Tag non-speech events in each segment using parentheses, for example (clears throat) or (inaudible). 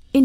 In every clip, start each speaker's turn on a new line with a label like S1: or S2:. S1: verscheen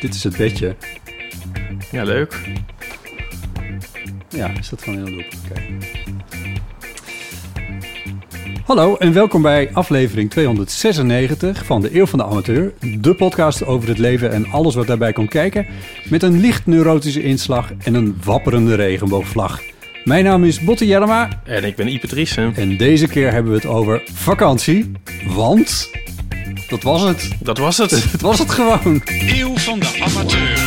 S2: Dit is het bedje.
S3: Ja, leuk.
S2: Ja, is dat gewoon heel doelpunt. Oké. Hallo en welkom bij aflevering 296 van de Eeuw van de Amateur. De podcast over het leven en alles wat daarbij komt kijken. Met een licht neurotische inslag en een wapperende regenboogvlag. Mijn naam is Botte Jellema
S3: En ik ben Ipe Driessen.
S2: en deze keer hebben we het over vakantie. Want dat was het.
S3: Dat was het.
S2: Het was het gewoon.
S4: Eeuw van de amateur.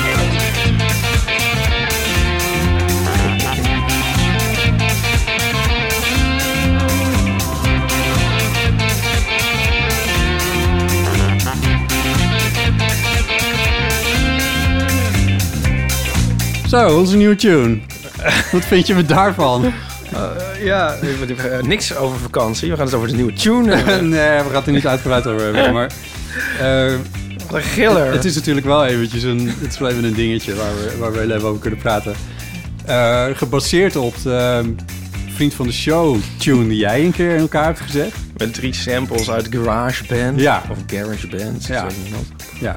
S2: Zo, onze nieuwe tune. Wat vind je me daarvan?
S3: ja, ik bedoel, eh, niks over vakantie. We gaan het over de nieuwe tune
S2: (laughs)
S3: hebben.
S2: nee, we gaan het er niet uitgebreid over hebben. Maar eh,
S3: Wat een giller.
S2: het is natuurlijk wel eventjes een, het is wel even een dingetje waar we, waar we heel even over kunnen praten. Eh, gebaseerd op de eh, vriend van de show tune die jij een keer in elkaar hebt gezet.
S3: Met drie samples uit GarageBand.
S2: Ja.
S3: Of GarageBand.
S2: Ja.
S3: Dat weet niemand.
S2: Ja.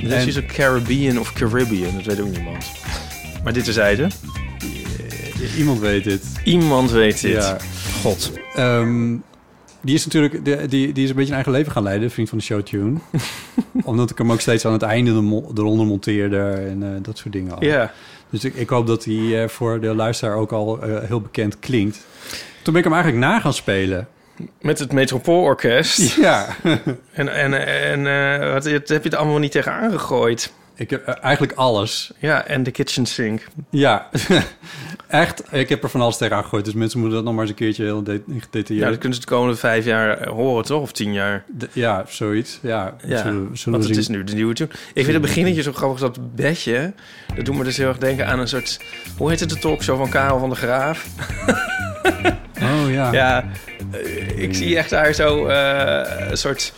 S3: Dus
S2: En-
S3: is ook Caribbean of Caribbean. Dat weet ook niemand. Maar dit terzijde.
S2: Iemand weet dit.
S3: Iemand weet dit.
S2: Ja.
S3: God.
S2: Ehm, die is natuurlijk de, die, die is een beetje een eigen leven gaan leiden, vriend van de show
S3: (laughs)
S2: Tune. Omdat ik hem ook steeds aan het einde de mo- eronder monteerde en eh, dat soort dingen. allemaal.
S3: Ja.
S2: Dus ik, ik hoop dat hij eh, voor de luisteraar ook al eh, heel bekend klinkt. Toen ben ik hem eigenlijk na gaan spelen.
S3: Met het Metropoolorkest.
S2: (laughs) Ja.
S3: En, en, en eh, wat, dat heb je er allemaal niet tegen aangegooid.
S2: ik heb eh, eigenlijk alles.
S3: Ja, en de kitchen sink.
S2: Ja. (laughs) Echt, ik heb er van alles tegen gegooid. Dus mensen moeten dat nog maar eens een keertje heel de-
S3: Ja, Nou, dat
S2: gedetailleerd...
S3: kunnen ze de komende vijf jaar eh, horen, toch? Of tien jaar.
S2: De- Ja, zoiets. Ja, zullen,
S3: Ja,
S2: we- zullen
S3: want
S2: we
S3: het
S2: zien.
S3: is nu de nieuwe tune. Ik vind het beginnetje zo grappig, dat bedje. Dat doet me dus heel erg denken aan een soort... Hoe heet het, de talkshow van Karel van der Graaf?
S2: Oh ja.
S3: Ja, eh, ik zie echt daar zo eh, een soort...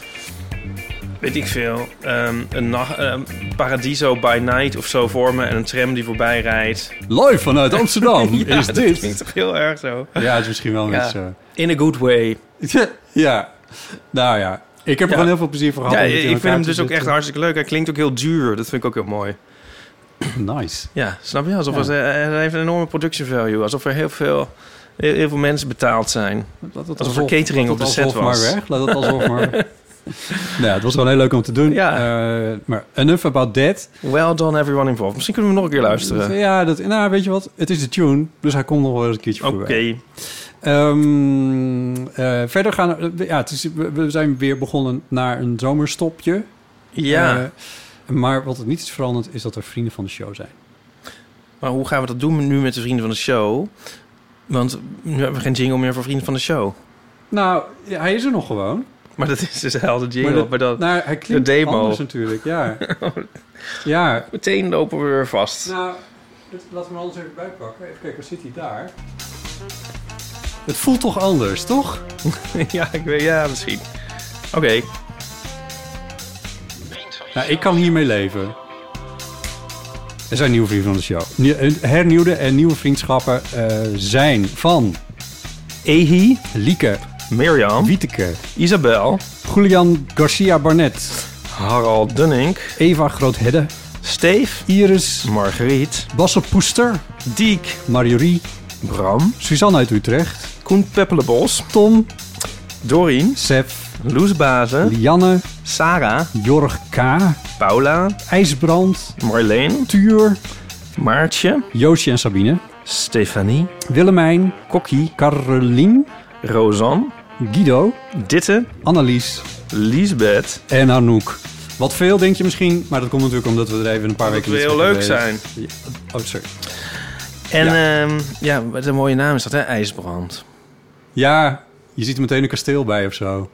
S3: Weet ik veel. ehm, een nacht, ehm, Paradiso by night of zo voor me. En een tram die voorbij rijdt.
S2: Live vanuit
S3: (laughs)
S2: Amsterdam
S3: Ja,
S2: is
S3: dat
S2: dit.
S3: klinkt toch heel erg zo.
S2: Ja, het is eh, misschien wel een
S3: Ja.
S2: beetje
S3: In a good way.
S2: zo. (laughs) ja. Nou ja. Ik heb er
S3: Ja.
S2: gewoon heel veel plezier van gehad.
S3: Ja,
S2: om dit in
S3: ik vind
S2: elkaar eh.
S3: hem
S2: te
S3: dus ook echt
S2: zetten.
S3: hartstikke leuk. Hij klinkt ook heel duur. Dat vind ik ook heel mooi.
S2: Nice.
S3: Ja, snap je? Alsof
S2: Ja.
S3: het, eh, hij heeft een enorme production value. Alsof er heel veel, heel, heel veel mensen betaald zijn.
S2: Laat dat
S3: Alsof er catering
S2: laat
S3: op de
S2: dat
S3: set
S2: alsof
S3: was.
S2: maar weg. Laat dat alsof
S3: (laughs)
S2: maar... nou, het was wel heel leuk om te doen.
S3: Ja.
S2: Eh, maar enough about that.
S3: Well done everyone involved. Misschien kunnen we hem nog een keer luisteren.
S2: Ja, dat, nou, weet je wat? Het is de tune, dus hij komt nog wel eens een keertje
S3: Oké.
S2: voorbij. Ehm, eh, verder gaan... we- ja, het is, we, we zijn weer begonnen naar een zomerstopje.
S3: Ja,
S2: Eh, maar wat het niet is veranderd, is dat er vrienden van de show zijn.
S3: maar hoe gaan we dat doen nu met de vrienden van de show? Want nu hebben we geen jingle meer voor vrienden van de show.
S2: Nou, ja, hij is er nog gewoon.
S3: Maar dat is dus een helder jingle.
S2: dat-
S3: Maar dat,
S2: Nou, hij klinkt
S3: de demo.
S2: anders natuurlijk, ja.
S3: (laughs)
S2: ja.
S3: meteen lopen we weer vast.
S2: Nou, dat- laten we hem anders even bijpakken. Even kijken, zit hij daar? Het voelt toch anders, toch?
S3: (laughs) ja, ik weet, ja, misschien. Oké.
S2: Nou, ik kan hiermee leven. Er zijn nieuwe vrienden van de show. Nie- eh, Hernieuwde en nieuwe vriendschappen eh, zijn van Ehi, Lieke,
S3: Mirjam,
S2: Wieteke,
S3: Isabel,
S2: Julian Garcia Barnet,
S3: Harald Dunning,
S2: Eva Groothedde,
S3: Steef,
S2: Iris,
S3: Margriet,
S2: Basse Poester,
S3: Diek,
S2: Marjorie,
S3: Bram,
S2: Suzanne uit Utrecht,
S3: Koen Peppelenbos,
S2: Tom,
S3: Dorien,
S2: Sef,
S3: Loes Bazen,
S2: Lianne,
S3: Sarah,
S2: Jorg K,
S3: Paula,
S2: IJsbrand,
S3: Marleen,
S2: Tuur,
S3: Maartje,
S2: Joosje en Sabine,
S3: Stefanie,
S2: Willemijn,
S3: Kokkie,
S2: Carolien,
S3: Rozan,
S2: Guido,
S3: Ditte,
S2: Annelies
S3: Liesbeth.
S2: en Anouk. Wat veel, denk je misschien, maar dat komt natuurlijk omdat we er even een paar
S3: Dat
S2: weken
S3: we
S2: niet
S3: heel
S2: zijn
S3: leuk zijn.
S2: geweest. Ja, Oh, sorry.
S3: En ehm, ja, wat een mooie naam is dat, hè? IJsbrand.
S2: Ja, je ziet er meteen een kasteel bij of zo.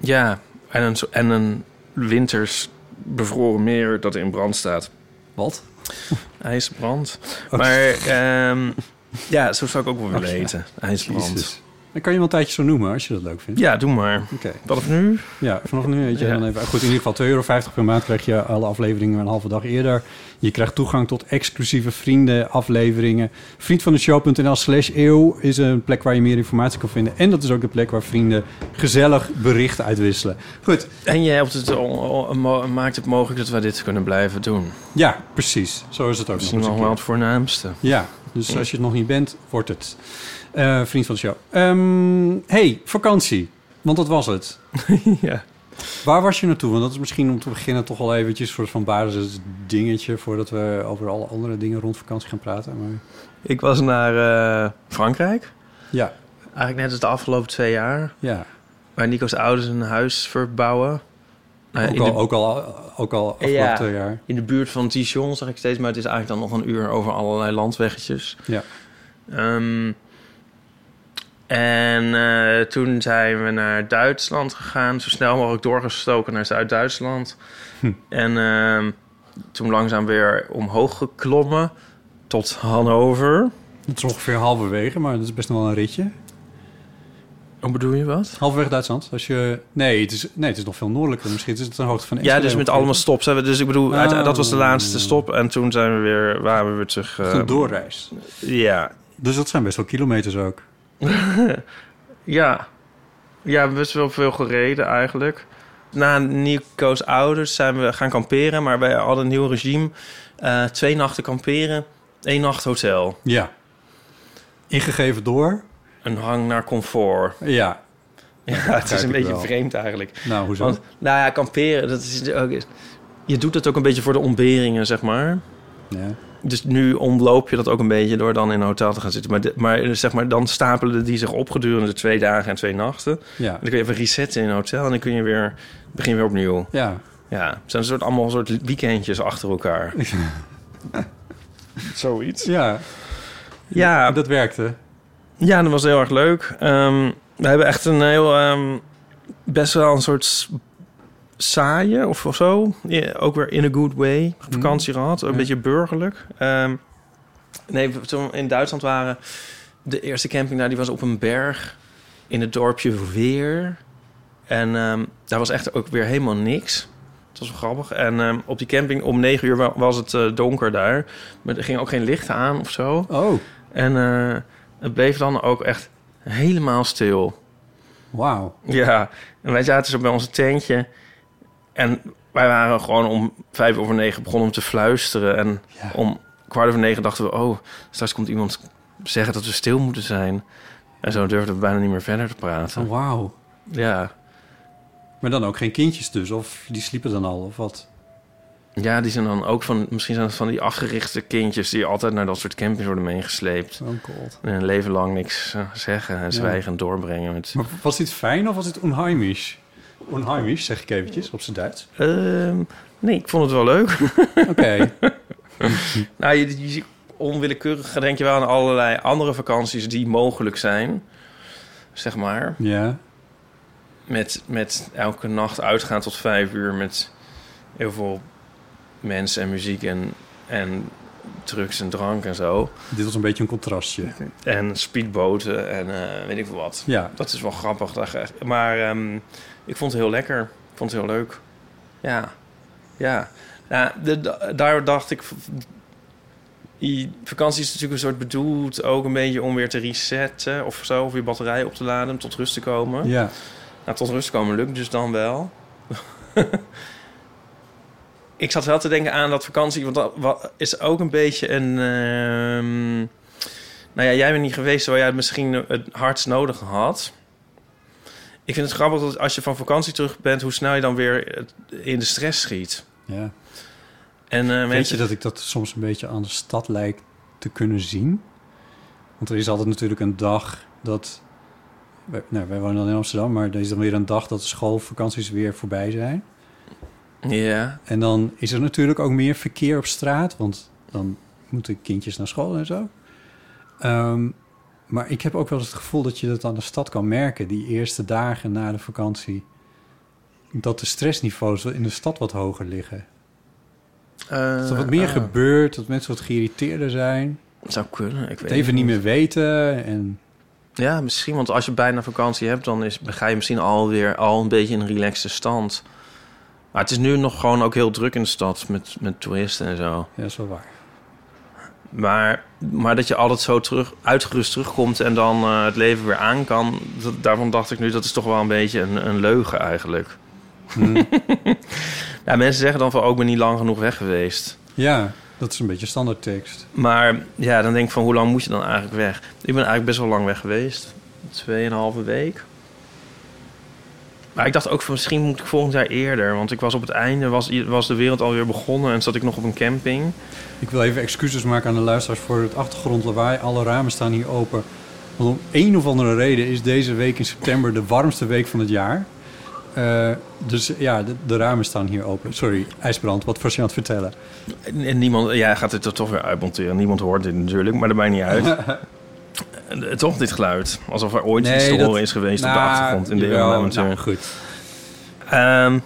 S3: Ja, en een, zo- en een winters bevroren meer dat in brand staat.
S2: Wat?
S3: IJsbrand. (laughs) Maar ehm, ja, zo zou ik ook wel willen eten. IJsbrand.
S2: Jezus. Dan kan je wel een tijdje zo noemen als je dat leuk vindt.
S3: Ja, doe maar.
S2: Oké.
S3: Wat of nu?
S2: Ja, vanaf nu weet je
S3: Ja.
S2: dan even. Goed, in ieder geval 2,50 euro per maand krijg je alle afleveringen een halve dag eerder. Je krijgt toegang tot exclusieve vriendenafleveringen. Vriendvandeshow.nl slash eeuw is een plek waar je meer informatie kan vinden. En dat is ook de plek waar vrienden gezellig berichten uitwisselen. Goed,
S3: En je helpt het, o- o- mo- maakt het mogelijk dat wij dit kunnen blijven doen.
S2: ja, precies. Zo is het ook
S3: Misschien
S2: nog
S3: nog
S2: eens een
S3: wel
S2: keer.
S3: het voornaamste.
S2: Ja, dus als je het nog niet bent, wordt het. Eh, vriend van de show. Ehm, hey, vakantie. Want dat was het.
S3: (laughs) ja.
S2: Waar was je naartoe? Want dat is misschien om te beginnen toch al eventjes een soort van basis dingetje... voordat we over alle andere dingen rond vakantie gaan praten. Maar
S3: Ik was naar eh, Frankrijk.
S2: ja,
S3: Eigenlijk net als de afgelopen twee jaar.
S2: ja.
S3: Waar Nico's ouders een huis verbouwen. Nou ja,
S2: Ook
S3: in,
S2: al,
S3: de,
S2: ook al, ook al afgelopen
S3: Ja.
S2: twee jaar.
S3: in de buurt van Dijon zag ik steeds, maar het is eigenlijk dan nog een uur over allerlei landweggetjes.
S2: Ja.
S3: Ehm, en eh, toen zijn we naar Duitsland gegaan. Zo snel mogelijk doorgestoken naar Zuid-Duitsland. En ehm, toen langzaam weer omhoog geklommen tot Hannover.
S2: Dat is ongeveer halverwege, maar dat is best nog wel een ritje.
S3: Hoe bedoel je wat?
S2: Halverwege Duitsland? Als je... nee, het is, nee, het is nog veel noordelijker. Misschien is het een hoogte van
S3: Ja,
S2: Enschede
S3: dus met
S2: ongeveer.
S3: allemaal stops. Hè. Dus ik bedoel, uit-
S2: Oh.
S3: dat was de laatste stop. En toen zijn we weer, waren we weer terug. eh,
S2: Een doorreis.
S3: Ja.
S2: Dus dat zijn best wel kilometers ook.
S3: Ja. Ja, best wel veel gereden eigenlijk. Na Nico's ouders zijn we gaan kamperen, maar wij hadden een nieuw regime. Eh, twee nachten kamperen, één nacht hotel.
S2: Ja. Ingegeven door...
S3: Een hang naar
S2: (laughs)
S3: comfort.
S2: Ja.
S3: Ja, het is
S2: ik
S3: een beetje
S2: wel.
S3: vreemd eigenlijk.
S2: Nou, hoezo?
S3: Want, nou ja, kamperen, dat is ook... Je doet het ook een beetje voor de ontberingen, zeg maar.
S2: ja.
S3: Dus nu ontloop je dat ook een beetje door dan in een hotel te gaan zitten. Maar, de- maar, zeg maar dan stapelen die zich op gedurende de twee dagen en twee nachten. En
S2: Ja.
S3: dan kun je even resetten in een hotel en dan kun je weer, begin je weer opnieuw.
S2: Ja. (laughs)
S3: Ja, het zijn een soort, allemaal een soort weekendjes achter elkaar. Zoiets.
S2: Ja.
S3: Ja,
S2: Dat werkte.
S3: ja, dat was heel erg leuk. Ehm, we hebben echt een heel... ehm, best wel een soort s- saaie of, of zo. Ja, ook weer in a good way. Vakantie gehad. Een beetje burgerlijk. Ehm, nee, we- toen we in Duitsland waren... De eerste camping daar, die was op een berg... in het dorpje Weer. En ehm, daar was echt ook weer helemaal niks. Het was wel grappig. En ehm, op die camping om negen uur wa- was het eh, donker daar. Maar er ging ook geen licht aan of zo.
S2: Oh,
S3: En eh, het bleef dan ook echt helemaal stil.
S2: wauw.
S3: Ja, en wij zaten zo bij ons tentje. En wij waren gewoon om vijf over negen begonnen om te fluisteren. En
S2: Ja.
S3: om kwart over negen dachten we... oh, straks komt iemand zeggen dat we stil moeten zijn. En zo durfden we bijna niet meer verder te praten.
S2: Oh, wauw.
S3: Ja,
S2: Maar dan ook geen kindjes dus, of die sliepen dan al, of wat?
S3: ja die zijn dan ook van... misschien zijn het van die afgerichte kindjes... die altijd naar dat soort campings worden meegesleept.
S2: Oh god.
S3: En hun leven lang niks eh, zeggen en zwijgend doorbrengen. Met,
S2: Maar was dit fijn of was dit onheimisch? Onheimisch, zeg ik eventjes, op zijn Duits.
S3: Ehm, nee, ik vond het wel leuk.
S2: Oké.
S3: Nou, je, je ziet onwillekeurig denk je wel aan allerlei andere vakanties die mogelijk zijn. Zeg maar.
S2: ja.
S3: Met, met elke nacht uitgaan tot vijf uur met heel veel mensen en muziek en, en drugs en drank en zo.
S2: Dit was een beetje een contrastje.
S3: En speedboten en eh, weet ik veel wat.
S2: Ja.
S3: Dat is wel grappig. daar- Maar ehm, ik vond het heel lekker. Ik vond het heel leuk. Ja. Ja. Nou, de- da- daar dacht ik... v- i- Vakantie is natuurlijk een soort bedoeld... ook een beetje om weer te resetten of zo. Of je batterij op te laden, om tot rust te komen.
S2: Ja.
S3: Nou, tot rust komen lukt dus dan wel. (laughs) ik zat wel te denken aan dat vakantie, want dat wa- is ook een beetje een. ehm, nou ja, jij bent niet geweest waar jij het misschien het hardst nodig had. Ik vind het grappig dat als je van vakantie terug bent, hoe snel je dan weer het- in de stress schiet.
S2: Ja.
S3: En eh,
S2: Weet je dat ik dat soms een beetje aan de stad lijkt te kunnen zien? Want er is altijd natuurlijk een dag dat... wij- Nou, wij wonen dan in Amsterdam, maar er is dan weer een dag dat de schoolvakanties weer voorbij zijn.
S3: Ja.
S2: En dan is er natuurlijk ook meer verkeer op straat, want dan moeten kindjes naar school en zo. Ehm, maar ik heb ook wel eens het gevoel dat je dat aan de stad kan merken, die eerste dagen na de vakantie. Dat de stressniveaus in de stad wat hoger liggen. Dat er wat meer
S3: gebeurt.
S2: gebeurt, dat mensen wat geïrriteerder zijn.
S3: Eh, Zou kunnen. Ik weet
S2: Het even niet
S3: goed.
S2: meer weten. En
S3: Ja, misschien. Want als je bijna vakantie hebt, dan is, ga je misschien alweer al een beetje in een relaxte stand. Maar het is nu nog gewoon ook heel druk in de stad met, met toeristen en zo.
S2: ja, dat is wel waar.
S3: Maar, maar dat je altijd zo terug, uitgerust terugkomt en dan eh, het leven weer aan kan. Dat, daarvan dacht ik nu, dat is toch wel een beetje een, een leugen eigenlijk. (laughs) ja, mensen zeggen dan van, ook ben niet lang genoeg weg geweest.
S2: Ja, dat is een beetje standaard tekst.
S3: Maar ja, dan denk ik van hoe lang moet je dan eigenlijk weg? Ik ben eigenlijk best wel lang weg geweest. Tweeënhalve week. Maar ik dacht ook van misschien moet ik volgend jaar eerder. Want ik was op het einde, was, was de wereld alweer begonnen en zat ik nog op een camping.
S2: Ik wil even excuses maken aan de luisteraars voor het achtergrondlawaai. Alle ramen staan hier open. Want om een of andere reden is deze week in september de warmste week van het jaar. Eh, dus ja, de, de ramen staan hier open. Sorry, IJsbrand, wat was je aan het vertellen?
S3: En, en niemand, ja, gaat dit er toch weer uitmonteren. Niemand hoort dit natuurlijk, maar dat maakt niet
S2: (laughs)
S3: uit. Eh, Toch dit geluid. Alsof er ooit iets te
S2: dat-
S3: horen is geweest op de
S2: Nou,
S3: achtergrond in de
S2: jawel,
S3: Eeuwen
S2: nou,
S3: Amateur.
S2: goed.
S3: Ehm,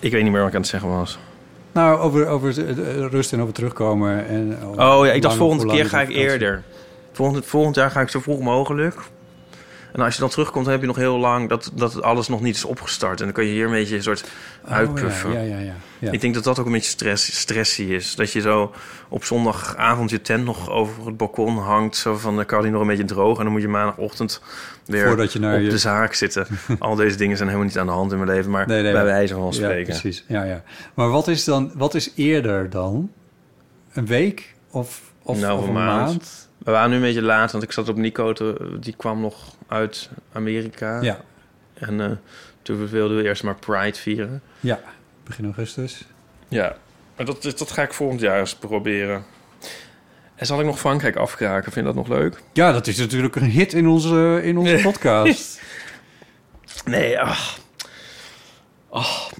S3: ik weet niet meer wat ik aan het zeggen was.
S2: Nou, over, over het, het, eh, rust en over terugkomen. En over
S3: Oh
S2: hoe
S3: ja, ik dacht
S2: lang-
S3: volgende
S2: hoe lang Oh,
S3: keer ga ik
S2: de vakantie-
S3: eerder. Volgend, volgend jaar ga ik zo vroeg mogelijk. En als je dan terugkomt, dan heb je nog heel lang dat, dat alles nog niet is opgestart. En dan kun je hier een beetje een soort uitpuffen.
S2: Oh, ja, ja, ja, ja, ja.
S3: Ik denk dat dat ook een beetje stress, stressy is. Dat je zo op zondagavond je tent nog over het balkon hangt. Zo van, dan kan die nog een beetje droog. En dan moet je maandagochtend weer
S2: Voordat je naar
S3: op
S2: je-
S3: de zaak
S2: (laughs)
S3: zitten. Al deze dingen zijn helemaal niet aan de hand in mijn leven. Maar
S2: Nee, nee,
S3: bij
S2: maar-
S3: wijze van spreken.
S2: Ja, precies. Ja, ja. Maar wat is dan, wat is eerder dan? Een week of, of,
S3: Nou,
S2: of
S3: een
S2: een
S3: maand.
S2: maand?
S3: We waren nu een beetje laat, want ik zat op Nico. Te, die kwam nog uit Amerika.
S2: Ja,
S3: En eh, toen wilden we eerst maar Pride vieren.
S2: ja. Begin augustus.
S3: Ja, maar dat, dat ga ik volgend jaar eens proberen. En zal ik nog Frankrijk afkraken? Vind je dat nog leuk?
S2: Ja, dat is natuurlijk een hit in onze, in
S3: (laughs)
S2: onze
S3: Dus-
S2: podcast.
S3: Nee, ach. Ach.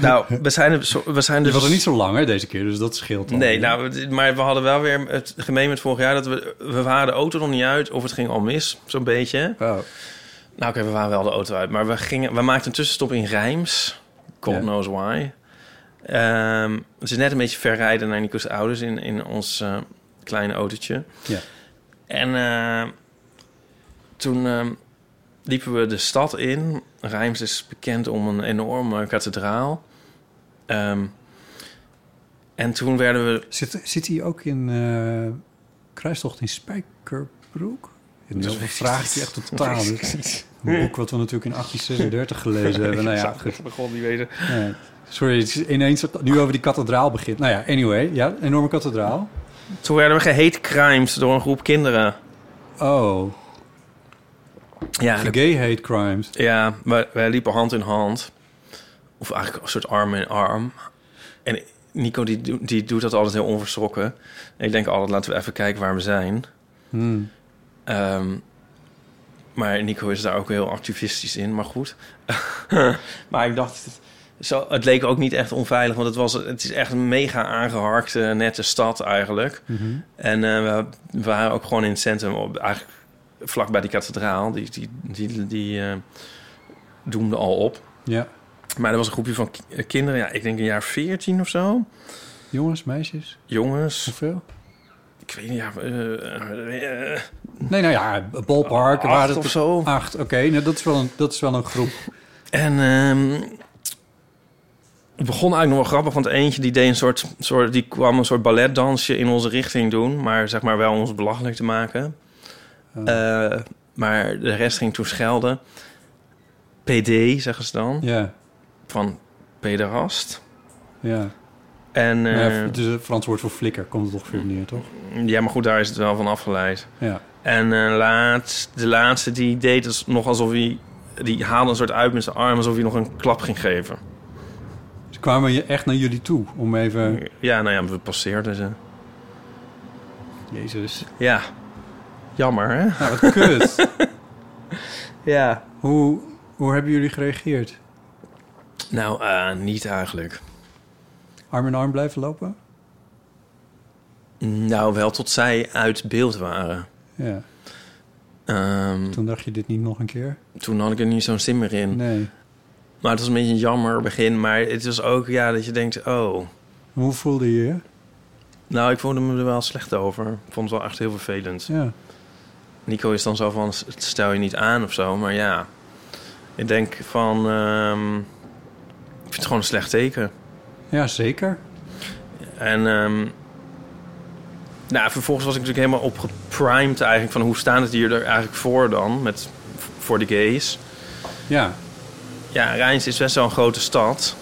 S3: Nou, we zijn, er zo- we zijn
S2: Je
S3: dus...
S2: was er niet zo lang hè, deze keer, dus dat scheelt al.
S3: Nee, nou, we- maar we hadden wel weer het gemeen met vorig jaar... dat we, we waren de auto nog niet uit of het ging al mis, zo'n beetje.
S2: Oh,
S3: Nou oké, we waren wel de auto uit. Maar we, gingen, we maakten een tussenstop in Rijms. God
S2: Ja.
S3: knows why. Ehm, het is net een beetje ver rijden naar Nico's ouders in, in ons eh, kleine autootje.
S2: ja.
S3: En eh, toen eh, liepen we de stad in. Rijms is bekend om een enorme kathedraal. Ehm, en toen werden we...
S2: Zit, zit hij ook in eh Kruistocht in Spijkerbroek? En dat vraagt je echt totaal.
S3: (laughs)
S2: Dit is Een boek wat we natuurlijk in 1836 gelezen hebben. Nou ja, goed.
S3: begon niet weten.
S2: Nee. Sorry, het is ineens nu over die kathedraal begint. Nou ja, anyway, ja, enorme kathedraal.
S3: Toen werden we gehate crimes door een groep kinderen.
S2: Oh,
S3: Ja,
S2: de gay hate crimes.
S3: Ja, wij, wij liepen hand in hand. Of eigenlijk een soort arm in arm. En Nico die, doet- die doet dat altijd heel onverschrokken. En ik denk altijd, laten we even kijken waar we zijn.
S2: Hmm.
S3: Ehm, maar Nico is daar ook heel activistisch in, maar goed. (laughs) maar ik dacht, zo, het leek ook niet echt onveilig. Want het, was, het is echt een mega aangeharkte, nette stad eigenlijk.
S2: Mhm.
S3: En eh, we waren ook gewoon in het centrum, op, eigenlijk vlak bij die kathedraal. Die, die, die, die eh, doemde al op.
S2: Ja,
S3: Maar er was een groepje van ki- eh, kinderen, ja, ik denk een jaar 14 of zo.
S2: jongens, meisjes,
S3: Jongens,
S2: hoeveel?
S3: ik weet niet, ja, eh, eh,
S2: Nee, nou ja, ballpark.
S3: Acht
S2: waren het
S3: of zo.
S2: Acht, oké. Nou, dat is wel een, dat is wel een groep.
S3: (laughs) En ehm, het begon eigenlijk nog wel grappig, want eentje die deed een soort, soort, die kwam een soort balletdansje in onze richting doen, maar zeg maar wel om ons belachelijk te maken.
S2: Ah.
S3: Eh, maar de rest ging toen schelden. PD zeggen ze dan,
S2: Ja,
S3: van pederast.
S2: Ja.
S3: En
S2: Maar
S3: eh,
S2: ja, het is een Frans woord voor flikker, komt het ongeveer op neer, toch?
S3: ehm, ja, maar goed, daar is het wel van afgeleid.
S2: Ja.
S3: En eh, laatst, de laatste die deed het nog alsof hij... Die haalde een soort uit met zijn arm alsof hij nog een klap ging geven.
S2: Ze kwamen je echt naar jullie toe om even...
S3: Ja, nou ja, we passeerden ze.
S2: Jezus.
S3: Ja. Jammer, hè?
S2: Nou, wat kut. (laughs)
S3: Ja.
S2: hoe, hoe hebben jullie gereageerd?
S3: Nou, eh, niet eigenlijk.
S2: Arm in arm blijven lopen?
S3: Nou, wel tot zij uit beeld waren.
S2: Ja.
S3: Ehm,
S2: Toen dacht je dit niet nog een keer?
S3: toen had ik er niet zo'n zin meer in.
S2: Nee.
S3: Maar het was een beetje een jammer begin. Maar het was ook, ja, dat je denkt, oh...
S2: Hoe voelde je je?
S3: Nou, ik voelde me er wel slecht over. Ik vond het wel echt heel vervelend.
S2: Ja.
S3: Nico is dan zo van, "S- stel je niet aan of zo. Maar ja, ik denk van... ehm, ik vind het gewoon een slecht teken.
S2: Ja, zeker.
S3: En ehm, nou, vervolgens was ik natuurlijk helemaal opgeprimed eigenlijk... van hoe staan het hier er eigenlijk voor dan, met, voor de gays.
S2: Ja.
S3: Ja, Rijns is best wel een grote stad.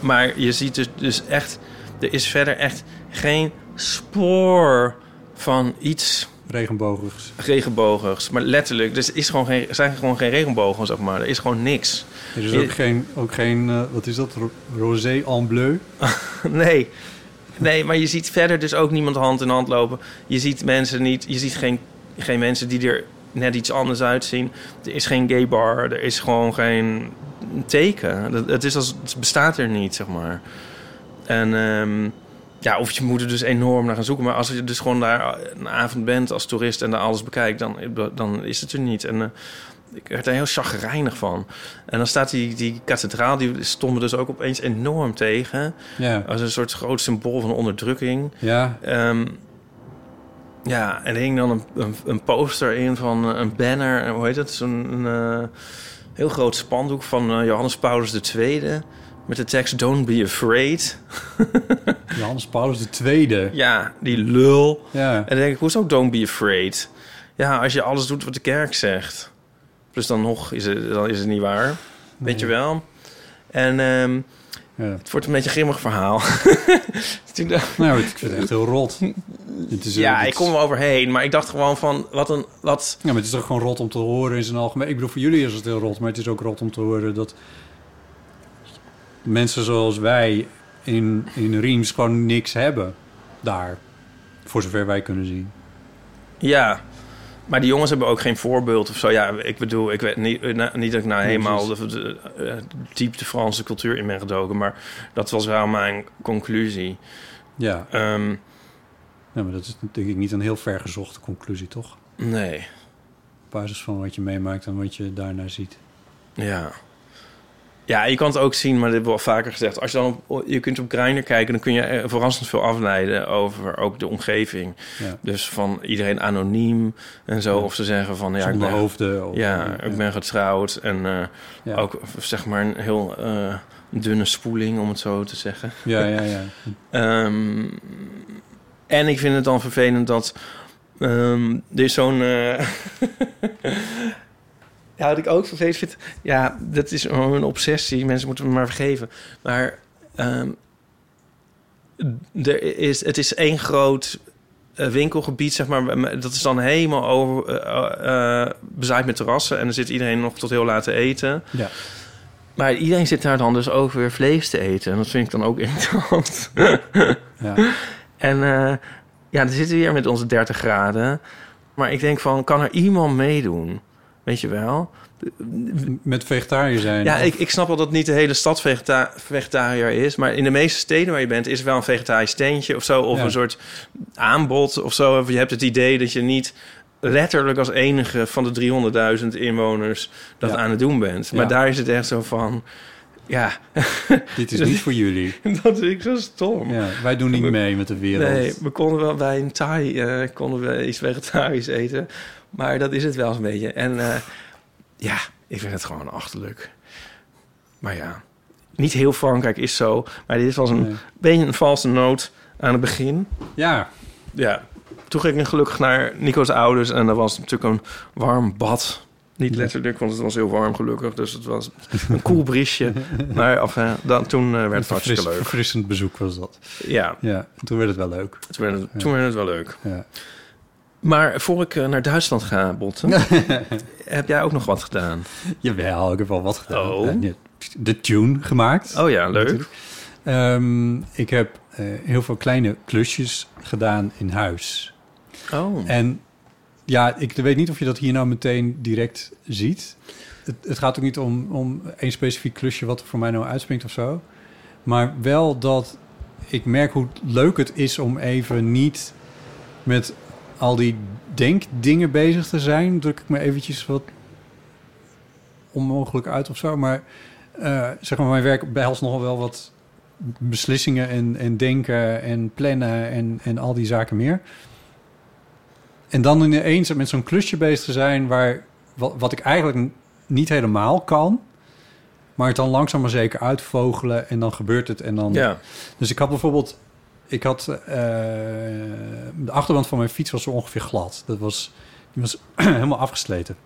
S3: Maar je ziet dus, dus echt... Er is verder echt geen spoor van iets
S2: Regenbogigs.
S3: regenbogigs. Maar letterlijk, dus is gewoon geen, zijn gewoon geen regenbogen, zeg maar. Er is gewoon niks.
S2: Er is dus
S3: Je-
S2: ook geen, ook geen eh, wat is dat? Ro- Rosé en bleu?
S3: (laughs) Nee. Nee, maar je ziet verder dus ook niemand hand in hand lopen. Je ziet mensen niet. Je ziet geen, geen mensen die er net iets anders uitzien. Er is geen gay bar. Er is gewoon geen teken. Dat- Het, is als, het bestaat er niet, zeg maar. En ehm, ja, of je moet er dus enorm naar gaan zoeken. Maar als je dus gewoon daar een avond bent als toerist en daar alles bekijkt, dan, dan is het er niet. En eh, ik werd er heel chagrijnig van. En dan staat die, die kathedraal, die stond me dus ook opeens enorm tegen.
S2: Ja.
S3: Als een soort groot symbool van onderdrukking.
S2: Ja.
S3: Ehm, ja, en er hing dan een, een, een poster in van eh, een banner. eh, Hoe heet dat? Zo'n een, eh, heel groot spandoek van eh, Johannes Paulus II. Met de tekst Don't be afraid.
S2: Johannes Paulus II.
S3: Ja, die lul.
S2: Ja.
S3: En dan denk ik, hoezo Don't be afraid? Ja, als je alles doet wat de kerk zegt. Dus dan nog is het, dan is het niet waar. Weet je wel? En ehm,
S2: ja.
S3: het wordt een beetje een grimmig verhaal. (laughs) Toen dacht
S2: Nou, ik vind het echt heel rot. Het is, eh,
S3: Ja,
S2: dit
S3: ik kom
S2: is-
S3: er overheen, maar ik dacht gewoon van wat een wat.
S2: Ja, maar het is toch gewoon rot om te horen in zijn algemeen. Ik bedoel, voor jullie is het heel rot, maar het is ook rot om te horen dat mensen zoals wij in, in Riems gewoon niks hebben daar. Voor zover wij kunnen zien.
S3: Ja, maar die jongens hebben ook geen voorbeeld of zo. Ja, ik bedoel, ik weet niet, eh, nou, niet dat ik nou helemaal de, de, eh, diep de Franse cultuur in ben gedoken, maar dat was wel mijn conclusie.
S2: Ja,
S3: Ehm,
S2: nou, maar dat is denk ik niet een heel vergezochte conclusie, toch?
S3: nee,
S2: Op basis van wat je meemaakt en wat je daarna ziet.
S3: ja. Ja, je kan het ook zien, maar dit hebben we al vaker gezegd. Als je dan op, je kunt op Grindr kijken, dan kun je eh, verrassend veel afleiden over ook de omgeving.
S2: Ja.
S3: Dus van iedereen anoniem en zo. Of ze zeggen van ja, ik
S2: Zonder
S3: ben
S2: hoofden. of-
S3: Ja, ik ben getrouwd en eh,
S2: eh, Ja.
S3: ook zeg maar een heel eh, dunne spoeling, om het zo te zeggen.
S2: Ja, ja, ja.
S3: Ehm, en ik vind het dan vervelend dat ehm er is zo'n. eh, (laughs) ja, wat ik ook vervelend vind. Ja, dat is gewoon een obsessie. Mensen moeten me maar vergeven. Maar ehm, er is, het is één groot eh, winkelgebied, zeg maar. maar Dat is dan helemaal over, eh, eh, bezaaid met terrassen. En dan zit iedereen nog tot heel laat te eten.
S2: Ja.
S3: Maar iedereen zit daar dan dus ook weer vlees te eten. En dat vind ik dan ook (laughs) irritant.
S2: ja.
S3: En eh, ja, dan zitten we weer met onze 30 graden. Maar ik denk van, kan er iemand meedoen? Weet je wel?
S2: Met vegetariër zijn.
S3: Ja,
S2: of-
S3: ik, ik snap wel dat niet de hele stad vegeta vegetariër is. Maar in de meeste steden waar je bent, is er wel een vegetarisch tentje of zo. Of
S2: Ja.
S3: een soort aanbod of zo. Of je hebt het idee dat je niet letterlijk als enige van de 300.000 inwoners dat
S2: Ja.
S3: aan het doen bent. Maar
S2: Ja.
S3: daar is het echt zo van, ja, (laughs)
S2: Dit is niet voor jullie.
S3: dat vind ik zo stom.
S2: Ja, wij doen niet mee met de wereld.
S3: Nee, we konden wel bij een Thai eh, konden we iets vegetarisch eten. Maar dat is het wel een beetje. En eh, ja, ik vind het gewoon achterlijk. Maar ja, niet heel Frankrijk is zo. Maar dit was een
S2: Nee.
S3: beetje een valse noot aan het begin.
S2: Ja,
S3: Ja, toen ging ik gelukkig naar Nico's ouders. En dat was natuurlijk een warm bad Niet letterlijk, want het was heel warm gelukkig. Dus het was een koel
S2: (laughs)
S3: briesje. Maar af, dan, toen eh, werd het hartstikke
S2: Verfris-
S3: leuk.
S2: Verfrissend bezoek was dat.
S3: Ja,
S2: Ja, toen werd het wel leuk.
S3: toen werd het, toen werd het wel leuk.
S2: Ja.
S3: Maar voor ik eh, naar Duitsland
S2: (laughs)
S3: ga, Botten, heb jij ook nog wat gedaan?
S2: Jawel, ik heb wel wat gedaan.
S3: Oh.
S2: Eh, De tune gemaakt.
S3: Oh ja, leuk.
S2: Natuurlijk. Ehm, ik heb eh, heel veel kleine klusjes gedaan in huis.
S3: Oh.
S2: En ja, ik weet niet of je dat hier nou meteen direct ziet. Het, het gaat ook niet om, om één specifiek klusje wat er voor mij nou uitspringt of zo. Maar wel dat ik merk hoe leuk het is om even niet met al die denkdingen bezig te zijn. Druk ik me eventjes wat onmogelijk uit of zo. Maar eh, zeg maar, mijn werk behelst nogal wel wat beslissingen en, en denken en plannen en, en al die zaken meer. En dan ineens met zo'n klusje bezig te zijn waar wat, wat ik eigenlijk n- niet helemaal kan. Maar het dan langzaam maar zeker uitvogelen en dan gebeurt het. En dan...
S3: Ja.
S2: Dus ik had bijvoorbeeld... Ik had, eh, de achterwand van mijn fiets was zo ongeveer glad. Dat was, die was (clears throat) helemaal afgesleten.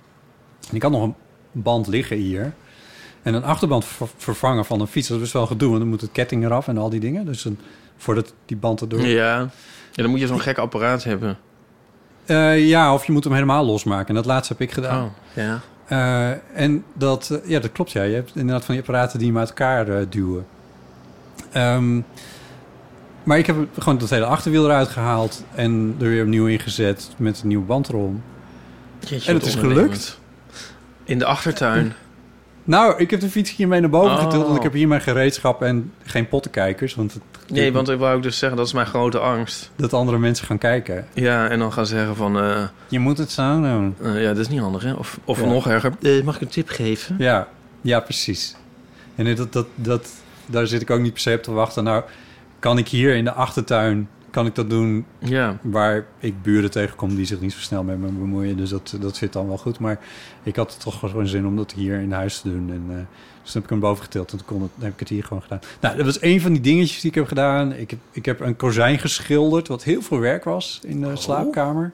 S2: En ik had nog een band liggen hier. En een achterband ver- vervangen van een fiets, dat is best wel gedoe. Want dan moet het ketting eraf en al die dingen. Dus een, voordat die band erdoor...
S3: ja. Ja, dan moet je zo'n gek apparaat hebben.
S2: Eh, ja, of je moet hem helemaal losmaken. En dat laatste heb ik gedaan.
S3: Oh, ja.
S2: Eh, en dat, eh, ja, dat klopt. Ja. Je hebt inderdaad van die apparaten die hem uit elkaar eh, duwen. Ehm, maar ik heb gewoon dat hele achterwiel eruit gehaald en er weer opnieuw ingezet met een nieuwe band erom.
S3: Jeetje,
S2: En
S3: wat
S2: het is
S3: ondernemend. In de achtertuin.
S2: Nou, ik heb de fiets hiermee naar boven
S3: Oh.
S2: getild, want ik heb hier mijn gereedschap en geen pottenkijkers, want het,
S3: Nee, want ik wou ook dus zeggen, dat is mijn grote angst.
S2: dat andere mensen gaan kijken.
S3: Ja, en dan gaan zeggen van, eh,
S2: Je moet het zo doen.
S3: eh, ja, dat is niet handig, hè? Of, of
S2: Ja.
S3: nog erger, eh, mag ik een tip geven?
S2: Ja, ja, precies. En dat, dat, dat, daar zit ik ook niet per se op te wachten. Nou, kan ik hier in de achtertuin, kan ik dat doen
S3: Ja,
S2: waar ik buren tegenkom die zich niet zo snel met me bemoeien. Dus dat, dat zit dan wel goed. Maar ik had toch gewoon zin om dat hier in huis te doen. En, eh, dus toen heb ik hem boven getild en toen kon het, dan heb ik het hier gewoon gedaan. Nou, dat was een van die dingetjes die ik heb gedaan. Ik heb, ik heb een kozijn geschilderd, wat heel veel werk was in
S3: Oh.
S2: de slaapkamer.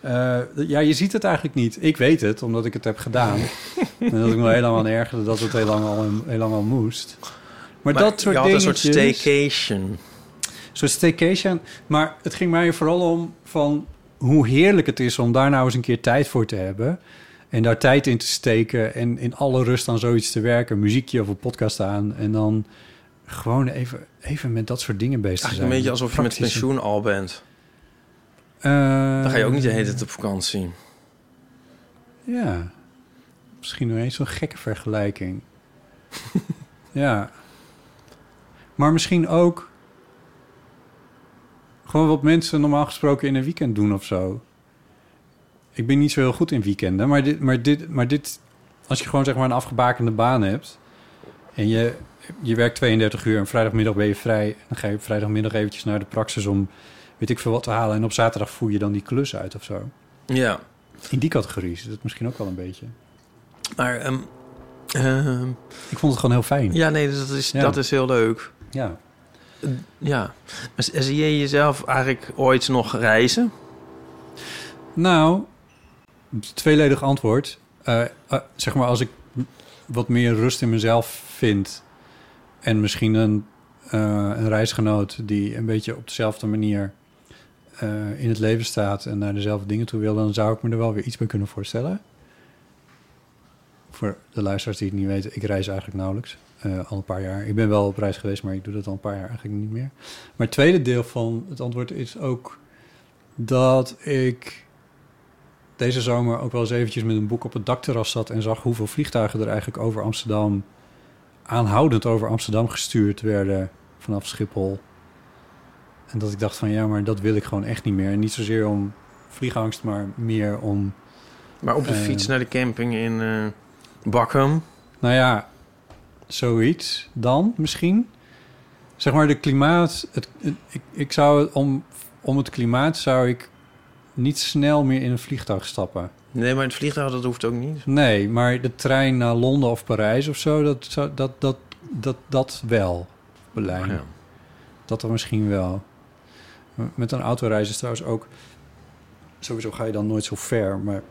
S2: Eh, ja, je ziet het eigenlijk niet. Ik weet het, omdat ik het heb
S3: (laughs)
S2: gedaan. en dat ik me heel lang aan ergerde dat het heel lang al, heel lang al moest. Maar,
S3: Maar
S2: dat soort
S3: je had een soort
S2: dingetjes-
S3: staycation.
S2: soort staycation. Maar het ging mij vooral om van hoe heerlijk het is om daar nou eens een keer tijd voor te hebben. En daar tijd in te steken en in alle rust aan zoiets te werken. Muziekje of een podcast aan. En dan gewoon even, even met dat soort dingen bezig te zijn.
S3: Eigenlijk een beetje alsof je met pensioen al bent.
S2: Eh,
S3: Dan ga je ook niet de hele tijd op vakantie.
S2: Ja. Misschien nog eens zo'n gekke vergelijking. ja. Maar misschien ook... gewoon wat mensen normaal gesproken in een weekend doen of zo. Ik ben niet zo heel goed in weekenden, maar dit... Maar dit, maar dit als je gewoon zeg maar een afgebakende baan hebt... en je, je werkt 32 uur en vrijdagmiddag ben je vrij... dan ga je op vrijdagmiddag eventjes naar de praxis om weet ik veel wat te halen... en op zaterdag voer je dan die klus uit of zo.
S3: Ja,
S2: In die categorie zit het misschien ook wel een beetje.
S3: maar... ehm, ehm,
S2: Ik vond het gewoon heel fijn.
S3: ja, nee, dus dat is,
S2: Ja.
S3: dat is heel leuk.
S2: Ja.
S3: Ja. Maar s- zie je jezelf eigenlijk ooit nog reizen?
S2: Nou, tweeledig antwoord. Eh, eh, zeg maar als ik m- wat meer rust in mezelf vind... en misschien een, eh, een reisgenoot die een beetje op dezelfde manier... eh, in het leven staat en naar dezelfde dingen toe wil... dan zou ik me er wel weer iets bij kunnen voorstellen. Voor de luisteraars die het niet weten, ik reis eigenlijk nauwelijks. eh, al een paar jaar. Ik ben wel op reis geweest, maar ik doe dat al een paar jaar eigenlijk niet meer. Maar het tweede deel van het antwoord is ook dat ik deze zomer ook wel eens eventjes met een boek op het dakterras zat en zag hoeveel vliegtuigen er eigenlijk over Amsterdam, aanhoudend over Amsterdam gestuurd werden vanaf Schiphol. En dat ik dacht van ja, maar dat wil ik gewoon echt niet meer. En niet zozeer om vliegangst, maar meer om
S3: Maar op de
S2: Eh.
S3: fiets naar de camping in eh Bakum?
S2: Nou ja, zoiets dan misschien. Zeg maar de klimaat. Het, het- ik, ik zou het om, om het klimaat zou ik niet snel meer in een vliegtuig stappen.
S3: Nee, maar het vliegtuig, dat hoeft ook niet.
S2: Nee, maar de trein naar Londen of Parijs of zo, dat, zou- dat, dat, dat, dat wel. Berlijn.
S3: Ja.
S2: Dat dan misschien wel. Met een autoreis is trouwens ook... Sowieso ga je dan nooit zo ver, maar...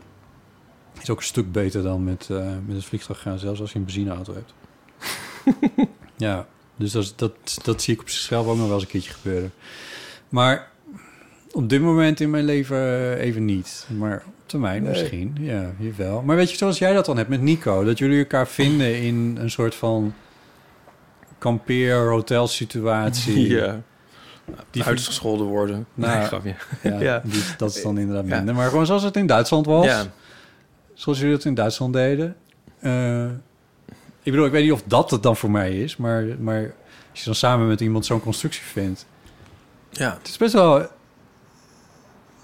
S2: Is ook een stuk beter dan met, eh, met het vliegtuig gaan, zelfs als je een benzineauto hebt. ja, dus dat, is- dat, dat zie ik op zichzelf ook nog wel eens een keertje gebeuren. Maar op dit moment in mijn leven eh, even niet. Maar op termijn misschien, ja, jawel. Maar weet je, zoals jij dat dan hebt met Nico... dat jullie elkaar vinden in een soort van kampeer-hotelsituatie.
S3: (laughs) Ja.
S2: Die
S3: Uitgescholden worden.
S2: Nou,
S3: Nee, grapje.
S2: Ja,
S3: Ja.
S2: die- dat is dan inderdaad
S3: Ja.
S2: minder. Maar gewoon zoals het in Duitsland was.
S3: Ja.
S2: Zoals jullie dat in Duitsland deden. Eh, ik bedoel, ik weet niet of dat het dan voor mij is. Maar, maar als je dan samen met iemand zo'n constructie vindt.
S3: Ja.
S2: Het is best wel...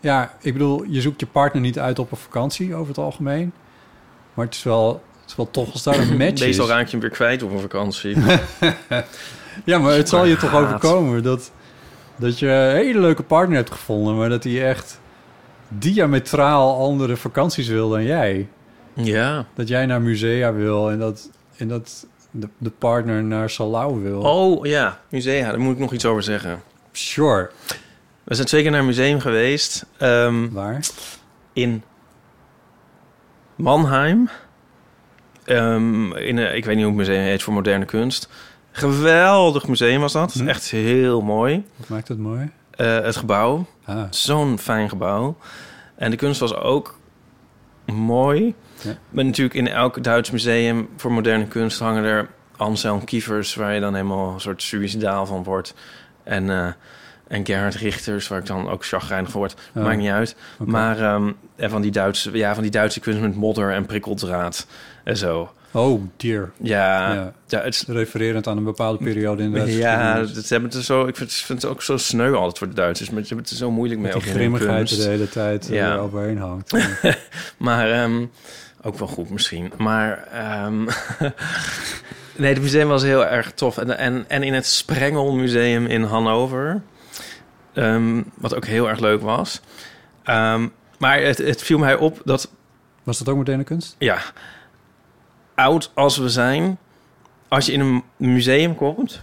S2: Ja, ik bedoel, je zoekt je partner niet uit op een vakantie over het algemeen. Maar het is wel, het is wel toch als daar
S3: (clears throat)
S2: een match is.
S3: Meestal raak je hem weer kwijt op een vakantie.
S2: (laughs) Ja, maar het zal je toch
S3: Haat.
S2: overkomen dat, dat je een hele leuke partner hebt gevonden, maar dat hij echt diametraal andere vakanties wil dan jij.
S3: ja.
S2: Dat jij naar musea wil en dat, en dat de, de partner naar Salau wil.
S3: Oh ja, musea. Daar moet ik nog iets over zeggen.
S2: Sure.
S3: We zijn twee keer naar een museum geweest. ehm,
S2: Waar?
S3: in Mannheim. Ehm, in, een- ik weet niet hoe het museum heet voor moderne kunst. Geweldig museum was dat.
S2: Hm.
S3: Echt heel mooi.
S2: Wat maakt dat mooi?
S3: Eh, het gebouw.
S2: Ah,
S3: Zo'n fijn gebouw. En de kunst was ook mooi.
S2: Ja.
S3: Maar natuurlijk in elk Duits museum voor moderne kunst hangen er Anselm Kievers... waar je dan helemaal een soort suïcidaal van wordt. En, eh, en Gerhard Richters, waar ik dan ook chagrijnig van word.
S2: Ja.
S3: Maakt niet uit.
S2: Oh. oké.
S3: Maar ehm, en van, die Duitse, ja, van die Duitse kunst met modder en prikkeldraad en zo.
S2: Oh, dear.
S3: Ja, ja.
S2: Ja.
S3: het is...
S2: Refererend aan een bepaalde periode in de Duitse
S3: Ja,
S2: geschiedenis.
S3: dat hebben het er zo, ik vind, vind het ook zo sneu altijd voor de Duitsers. Maar ze hebben het er zo moeilijk mee.
S2: Met die
S3: ook in hun
S2: grimmigheid
S3: kunst.
S2: de hele tijd eh,
S3: Ja.
S2: overheen hangt. (laughs)
S3: Maar ehm, ook wel goed misschien. Maar ehm, (laughs) nee, het museum was heel erg tof. En, en, en in het Sprengelmuseum in Hannover, ehm, wat ook heel erg leuk was. Ehm, maar het, het viel mij op dat,
S2: Was dat ook moderne kunst?
S3: ja, oud als we zijn, als je in een museum komt,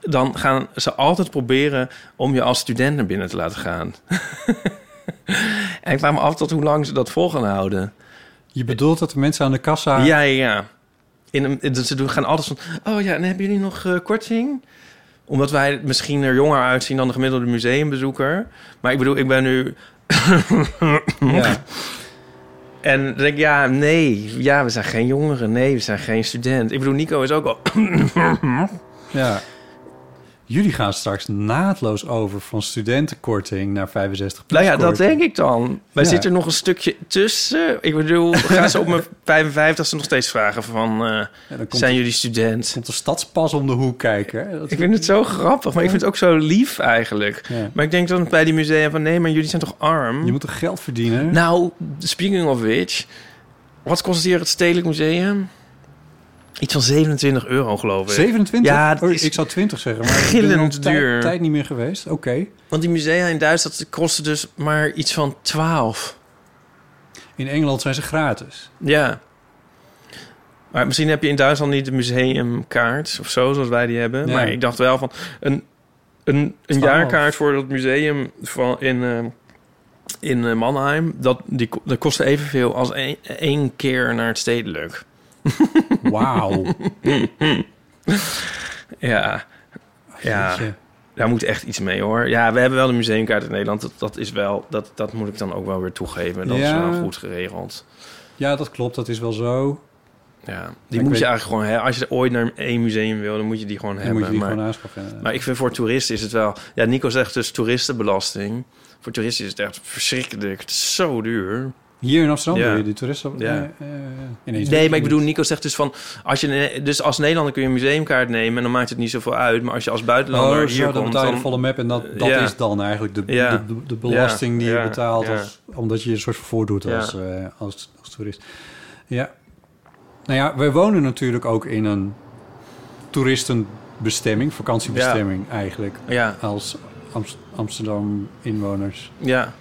S3: dan gaan ze altijd proberen om je als student naar binnen te laten gaan. (laughs) en ik vraag me af tot hoe lang ze dat vol gaan houden.
S2: Je bedoelt dat de mensen aan de kassa...
S3: Ja, ja, ja. In, een- in, ze doen- gaan altijd van... Oh ja, en hebben jullie nog eh, korting? Omdat wij misschien er jonger uitzien dan de gemiddelde museumbezoeker. Maar ik bedoel, ik ben nu...
S2: Ja.
S3: En dan denk ik, ja, nee. Ja, we zijn geen jongeren. Nee, we zijn geen student. Ik bedoel, Nico is ook al...
S2: Ja. Jullie gaan straks naadloos over van studentenkorting naar 65 plus
S3: Nou ja, dat denk ik dan. Wij
S2: Ja.
S3: zitten nog een stukje tussen. Ik bedoel, gaan ze op
S2: (laughs)
S3: mijn 55ste nog steeds vragen van... eh,
S2: dan komt,
S3: zijn jullie student?
S2: komt de stadspas om de hoek kijken. hè? Dat-
S3: Ik vind het zo grappig, maar ik vind het ook zo lief eigenlijk.
S2: Ja.
S3: Maar ik denk dan bij die musea van... nee, maar jullie zijn toch arm?
S2: Je moet toch geld verdienen?
S3: Nou, speaking of which... wat kost hier het Stedelijk Museum? Iets van 27 euro, geloof ik.
S2: 27?
S3: Ja, dat
S2: Oh,
S3: is
S2: ik zou 20 zeggen, maar ik ben
S3: gillend
S2: er al een tij-
S3: duur.
S2: tijd niet meer geweest. Oké.
S3: Want die musea in Duitsland kosten dus maar iets van 12.
S2: In Engeland zijn ze gratis.
S3: Ja. Maar misschien heb je in Duitsland niet de museumkaart of zo, zoals wij die hebben.
S2: Ja.
S3: Maar ik dacht wel van een, een, een
S2: Twaalf.
S3: jaarkaart voor dat museum van, in, eh, in eh, Mannheim. Dat, die, ko- dat kostte evenveel als één- één keer naar het stedelijk.
S2: Wauw.
S3: Ja. (laughs) Ja.
S2: Jeetje.
S3: Daar moet echt iets mee hoor. Ja, we hebben wel de museumkaart in Nederland. Dat, dat is wel, dat, dat moet ik dan ook wel weer toegeven. Dat is
S2: Ja.
S3: wel goed geregeld.
S2: ja, dat klopt. Dat is wel zo.
S3: Ja. Die
S2: Ik
S3: moet je
S2: weet-
S3: eigenlijk gewoon hebben. Als je ooit naar één museum wil, dan moet je die gewoon
S2: Dan
S3: hebben.
S2: moet je die
S3: maar,
S2: gewoon aanschaffen. inderdaad.
S3: maar ik vind voor toeristen is het wel. Ja, Nico zegt dus toeristenbelasting. Voor toeristen is het echt verschrikkelijk. Het is zo duur.
S2: Hier in Amsterdam
S3: Ja.
S2: wil je die toeristen...
S3: Ja.
S2: eh, eh, ineens
S3: Nee, maar ik bedoel, Nico zegt dus van. Als je, dus als Nederlander kun je een museumkaart nemen en dan maakt het niet zoveel uit. Maar als je als buitenlander
S2: Oh,
S3: hier
S2: zo, dan
S3: komt.
S2: betaal je de
S3: Dan, Eh,
S2: volle map en dat, dat
S3: Ja.
S2: is dan eigenlijk de,
S3: Ja.
S2: de, de, de belasting die
S3: Ja,
S2: je betaalt...
S3: ja.
S2: Als, omdat je je een soort voordoet
S3: Ja.
S2: als, eh, als, als toerist. Ja. Nou ja, wij wonen natuurlijk ook in een toeristenbestemming, vakantiebestemming eigenlijk.
S3: ja,
S2: Als Amst- Amsterdam-inwoners,
S3: ja,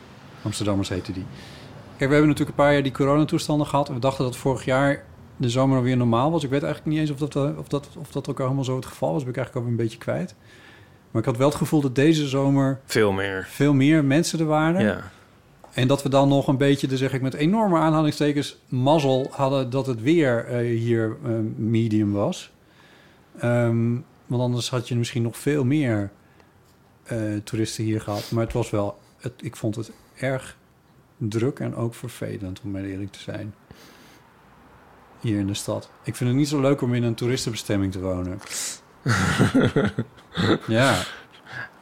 S2: Amsterdammers heten die. Kijk, we hebben natuurlijk een paar jaar die coronatoestanden gehad. We dachten dat vorig jaar de zomer alweer normaal was. Ik weet eigenlijk niet eens of dat, eh, of dat, of dat ook helemaal zo het geval was. Ben ik eigenlijk ook een beetje kwijt. Maar ik had wel het gevoel dat deze zomer
S3: veel meer.
S2: veel meer mensen er waren.
S3: Ja.
S2: En dat we dan nog een beetje, dan zeg ik met enorme aanhalingstekens, mazzel hadden dat het weer eh, hier eh, medium was. Ehm, want anders had je misschien nog veel meer eh, toeristen hier gehad. Maar het was wel, het, ik vond het erg druk en ook vervelend, om maar eerlijk te zijn. Hier in de stad. Ik vind het niet zo leuk om in een toeristenbestemming te wonen. ja.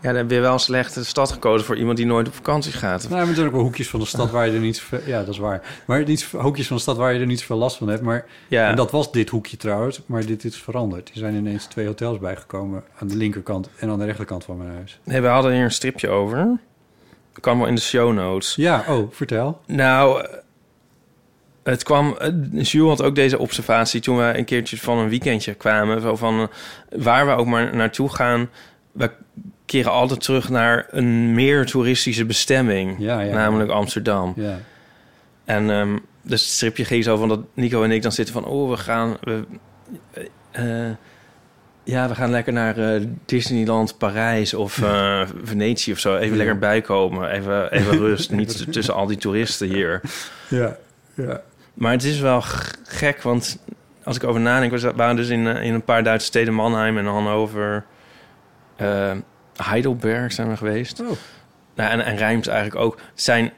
S3: Ja, dan heb je wel een slechte stad gekozen voor iemand die nooit op vakantie gaat.
S2: Nou, maar er zijn ook wel hoekjes van de stad waar je er niet zoveel... Ja, dat is waar. Maar niet, zoveel- hoekjes van de stad waar je er niet zoveel last van hebt. Maar,
S3: Ja,
S2: En dat was dit hoekje trouwens. Maar dit is veranderd. Er zijn ineens twee hotels bijgekomen. Aan de linkerkant en aan de rechterkant van mijn huis.
S3: nee, we hadden hier een stripje over. Dat kwam wel in de show notes.
S2: Ja, oh, vertel.
S3: Nou, eh, het kwam. eh, Jules had ook deze observatie toen we een keertje van een weekendje kwamen. Zo van eh, waar we ook maar naartoe gaan. We keren altijd terug naar een meer toeristische bestemming.
S2: Ja, ja.
S3: Namelijk Amsterdam.
S2: Ja.
S3: En ehm, dus het stripje ging zo van dat Nico en ik dan zitten van... oh, we gaan... We, eh, eh, ja, we gaan lekker naar eh, Disneyland Parijs
S2: (laughs)
S3: of eh, Venetië of zo. Even lekker bijkomen, even, even rust. Niet
S2: (laughs)
S3: t- tussen al die toeristen hier.
S2: Ja, ja.
S3: Maar het is wel g- gek, want als ik over nadenk... we za- waren dus in, eh, in een paar Duitse steden, Mannheim en Hannover... eh, Heidelberg zijn we geweest.
S2: Oh.
S3: Nou, en, en Rijms eigenlijk ook. Het zijn,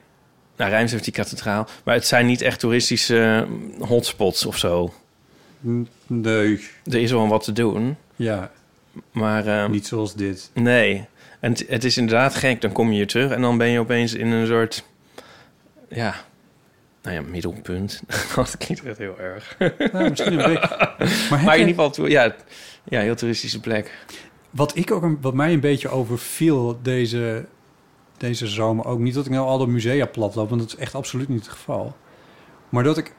S3: nou, Rijms heeft die kathedraal. Maar het zijn niet echt toeristische eh, hotspots of zo.
S2: N- Nee.
S3: Er is wel wat te doen.
S2: Ja,
S3: Maar ehm,
S2: niet zoals dit.
S3: nee. En het, het is inderdaad gek. Dan kom je hier terug en dan ben je opeens in een soort... Ja, nou ja, middelpunt. (laughs) Dat klinkt echt heel erg.
S2: Nou, misschien een beetje. Maar, heb
S3: Maar in
S2: jij-
S3: ieder geval, toe- ja, ja, heel toeristische plek.
S2: Wat, ik ook een, wat mij een beetje overviel deze, deze zomer ook. Niet dat ik nou alle musea platloop, want dat is echt absoluut niet het geval. Maar dat ik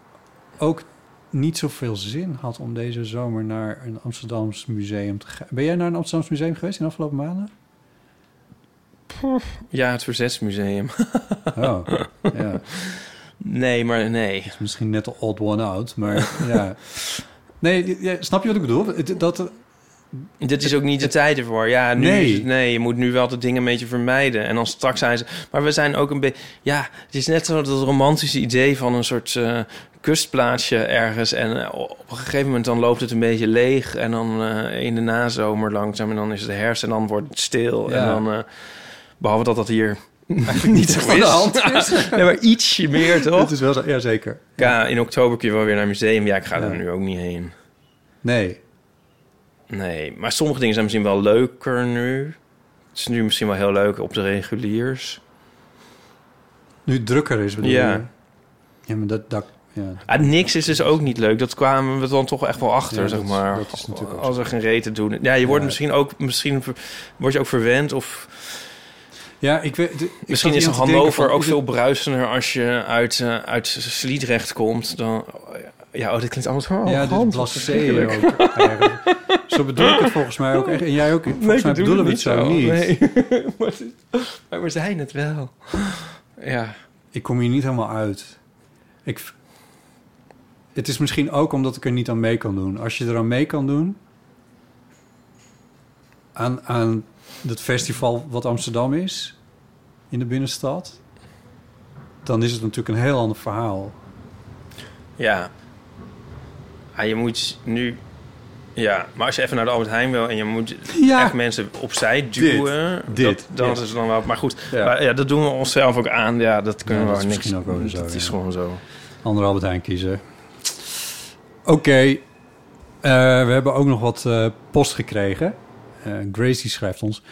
S2: ook niet zoveel zin had om deze zomer naar een Amsterdams museum te gaan. Ben jij naar een Amsterdams museum geweest in de afgelopen maanden?
S3: Ja, het Verzetsmuseum. (laughs)
S2: Oh, ja.
S3: Nee, maar nee.
S2: is misschien net de odd one out, maar ja. Nee, ja, snap je wat ik bedoel? Het- Dat,
S3: Dit is ook niet de tijd ervoor. Ja, nu,
S2: Nee.
S3: is het- nee, je moet nu wel de dingen een beetje vermijden. En dan straks zijn ze... Maar we zijn ook een beetje... Ja, het is net zo dat romantische idee van een soort eh, kustplaatsje ergens. En eh, op een gegeven moment dan loopt het een beetje leeg. En dan eh, in de nazomer langzaam. En dan is het herfst en dan wordt het stil.
S2: Ja.
S3: En dan... eh, behalve dat dat hier eigenlijk (laughs) niet zo is. (laughs) nee, maar ietsje meer,
S2: dat
S3: toch?
S2: is wel zo, ja zeker.
S3: Ja, in oktober kun je wel weer naar een museum. Ja, ik ga
S2: Ja.
S3: er nu ook niet heen.
S2: Nee,
S3: Nee, maar sommige dingen zijn misschien wel leuker nu. Het is nu misschien wel heel leuk op de reguliers.
S2: nu het drukker is bedoel
S3: Ja.
S2: je? Ja, maar dat... dat ja,
S3: Ah, niks is dus ook niet leuk. Dat kwamen we dan toch echt wel achter,
S2: Ja,
S3: zeg
S2: dat-
S3: maar.
S2: dat is natuurlijk ook
S3: Als er geen reet te doen. Ja, je wordt
S2: Ja.
S3: misschien ook misschien ver- word je ook verwend. Of
S2: Ja, ik weet. ik
S3: misschien
S2: zat
S3: is
S2: hier aan te denken
S3: Hannover
S2: van,
S3: ook
S2: is het-
S3: veel bruisender als je uit, eh, uit Sliedrecht komt. Dan, ja, oh, dit klinkt allemaal zo.
S2: Ja,
S3: oh,
S2: dit
S3: hand,
S2: blasé
S3: verschrikkelijk.
S2: ook. eigenlijk. Zo bedoel ik het volgens mij ook echt. En jij ook. Volgens mij
S3: dat doen
S2: bedoelen we het zo niet. (laughs)
S3: Nee. maar, het- maar we zijn het wel. Ja.
S2: Ik kom hier niet helemaal uit. Ik, het is misschien ook omdat ik er niet aan mee kan doen. Als je er aan mee kan doen... Aan, aan dat festival wat Amsterdam is... In de binnenstad... Dan is het natuurlijk een heel ander verhaal.
S3: Ja. Ah, je moet nu... Ja, maar als je even naar de Albert Heijn wil en je moet
S2: Ja.
S3: echt mensen opzij duwen...
S2: Dit,
S3: Dat,
S2: dit,
S3: dat
S2: ja.
S3: is dan wel... Maar goed,
S2: Ja.
S3: Maar ja, dat doen we onszelf ook aan. Ja, dat kunnen
S2: Ja,
S3: we
S2: dat is
S3: niks...
S2: misschien ook wel weer zo,
S3: dat is
S2: ja.
S3: gewoon zo.
S2: Andere Albert Heijn kiezen. Oké. eh, we hebben ook nog wat eh, post gekregen. Eh Gracie schrijft ons...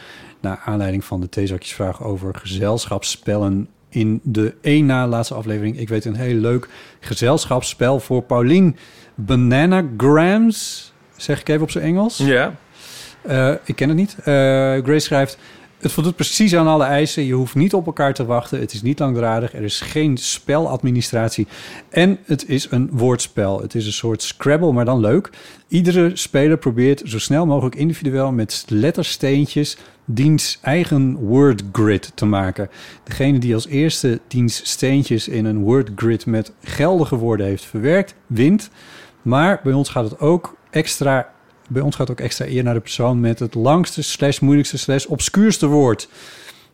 S2: naar aanleiding van de theezakjesvraag over gezelschapsspellen... in de één na laatste aflevering. Ik weet een heel leuk gezelschapsspel voor Paulien. Bananagrams, zeg ik even op zijn Engels.
S3: Ja.
S2: Eh, ik ken het niet. Eh, Grace schrijft... Het voldoet precies aan alle eisen. Je hoeft niet op elkaar te wachten. Het is niet langdradig. Er is geen speladministratie. En het is een woordspel. Het is een soort Scrabble, maar dan leuk. Iedere speler probeert zo snel mogelijk individueel met lettersteentjes diens eigen wordgrid te maken. Degene die als eerste diens steentjes in een wordgrid met geldige woorden heeft verwerkt, wint. Maar bij ons gaat het ook extra. Bij ons gaat ook extra eer naar de persoon met het langste, slash moeilijkste, slash obscuurste woord.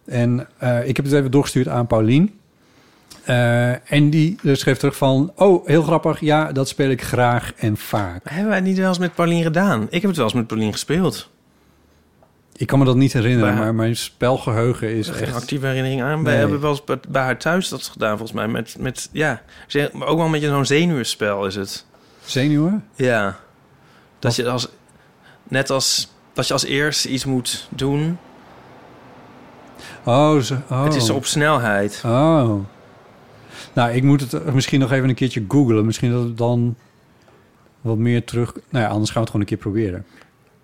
S2: En eh, ik heb het even doorgestuurd aan Paulien. Eh, en die eh, schreef terug van... Oh, heel grappig. Ja, dat speel ik graag en vaak.
S3: Hebben wij het niet wel eens met Paulien gedaan? Ik heb het wel eens met Paulien gespeeld.
S2: Ik kan me dat niet herinneren,
S3: Maar-
S2: maar mijn spelgeheugen is
S3: Geen
S2: echt...
S3: actieve herinnering aan. Wij
S2: Nee.
S3: hebben wel eens bij, bij haar thuis dat gedaan, volgens mij. Met, met, ja, ze- maar ook wel met zo'n zenuwspel is het.
S2: Zenuwen?
S3: Ja. Dat
S2: Wat?
S3: je als... Net als... Dat je als eerste iets moet doen.
S2: Oh, ze, oh.
S3: Het is op snelheid.
S2: Oh. Nou, ik moet het eh, misschien nog even een keertje googlen. Misschien dat het dan wat meer terug... Nou ja, anders gaan we het gewoon een keer proberen.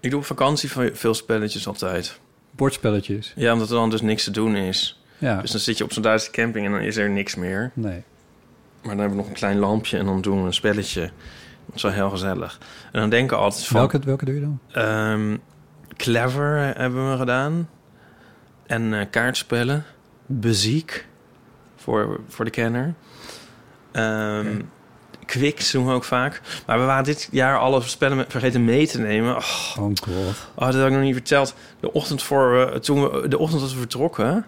S3: Ik doe op vakantie ve- veel spelletjes altijd.
S2: Bordspelletjes.
S3: Ja, omdat er dan dus niks te doen is.
S2: Ja.
S3: Dus dan zit je op zo'n Duitse camping en dan is er niks meer.
S2: Nee.
S3: Maar dan hebben we nog een klein lampje en dan doen we een spelletje. Dat is wel heel gezellig. En dan denken we altijd van...
S2: Welke, welke doe je dan?
S3: Ehm, clever hebben we gedaan. En eh, kaartspellen. Beziek. Voor, voor de kenner. Ehm Quiks doen we ook vaak. Maar we waren dit jaar alle spellen me- vergeten mee te nemen. Oh,
S2: Oh god.
S3: oh, dat had ik nog niet verteld. De ochtend, voor, we- toen we, de ochtend dat we vertrokken...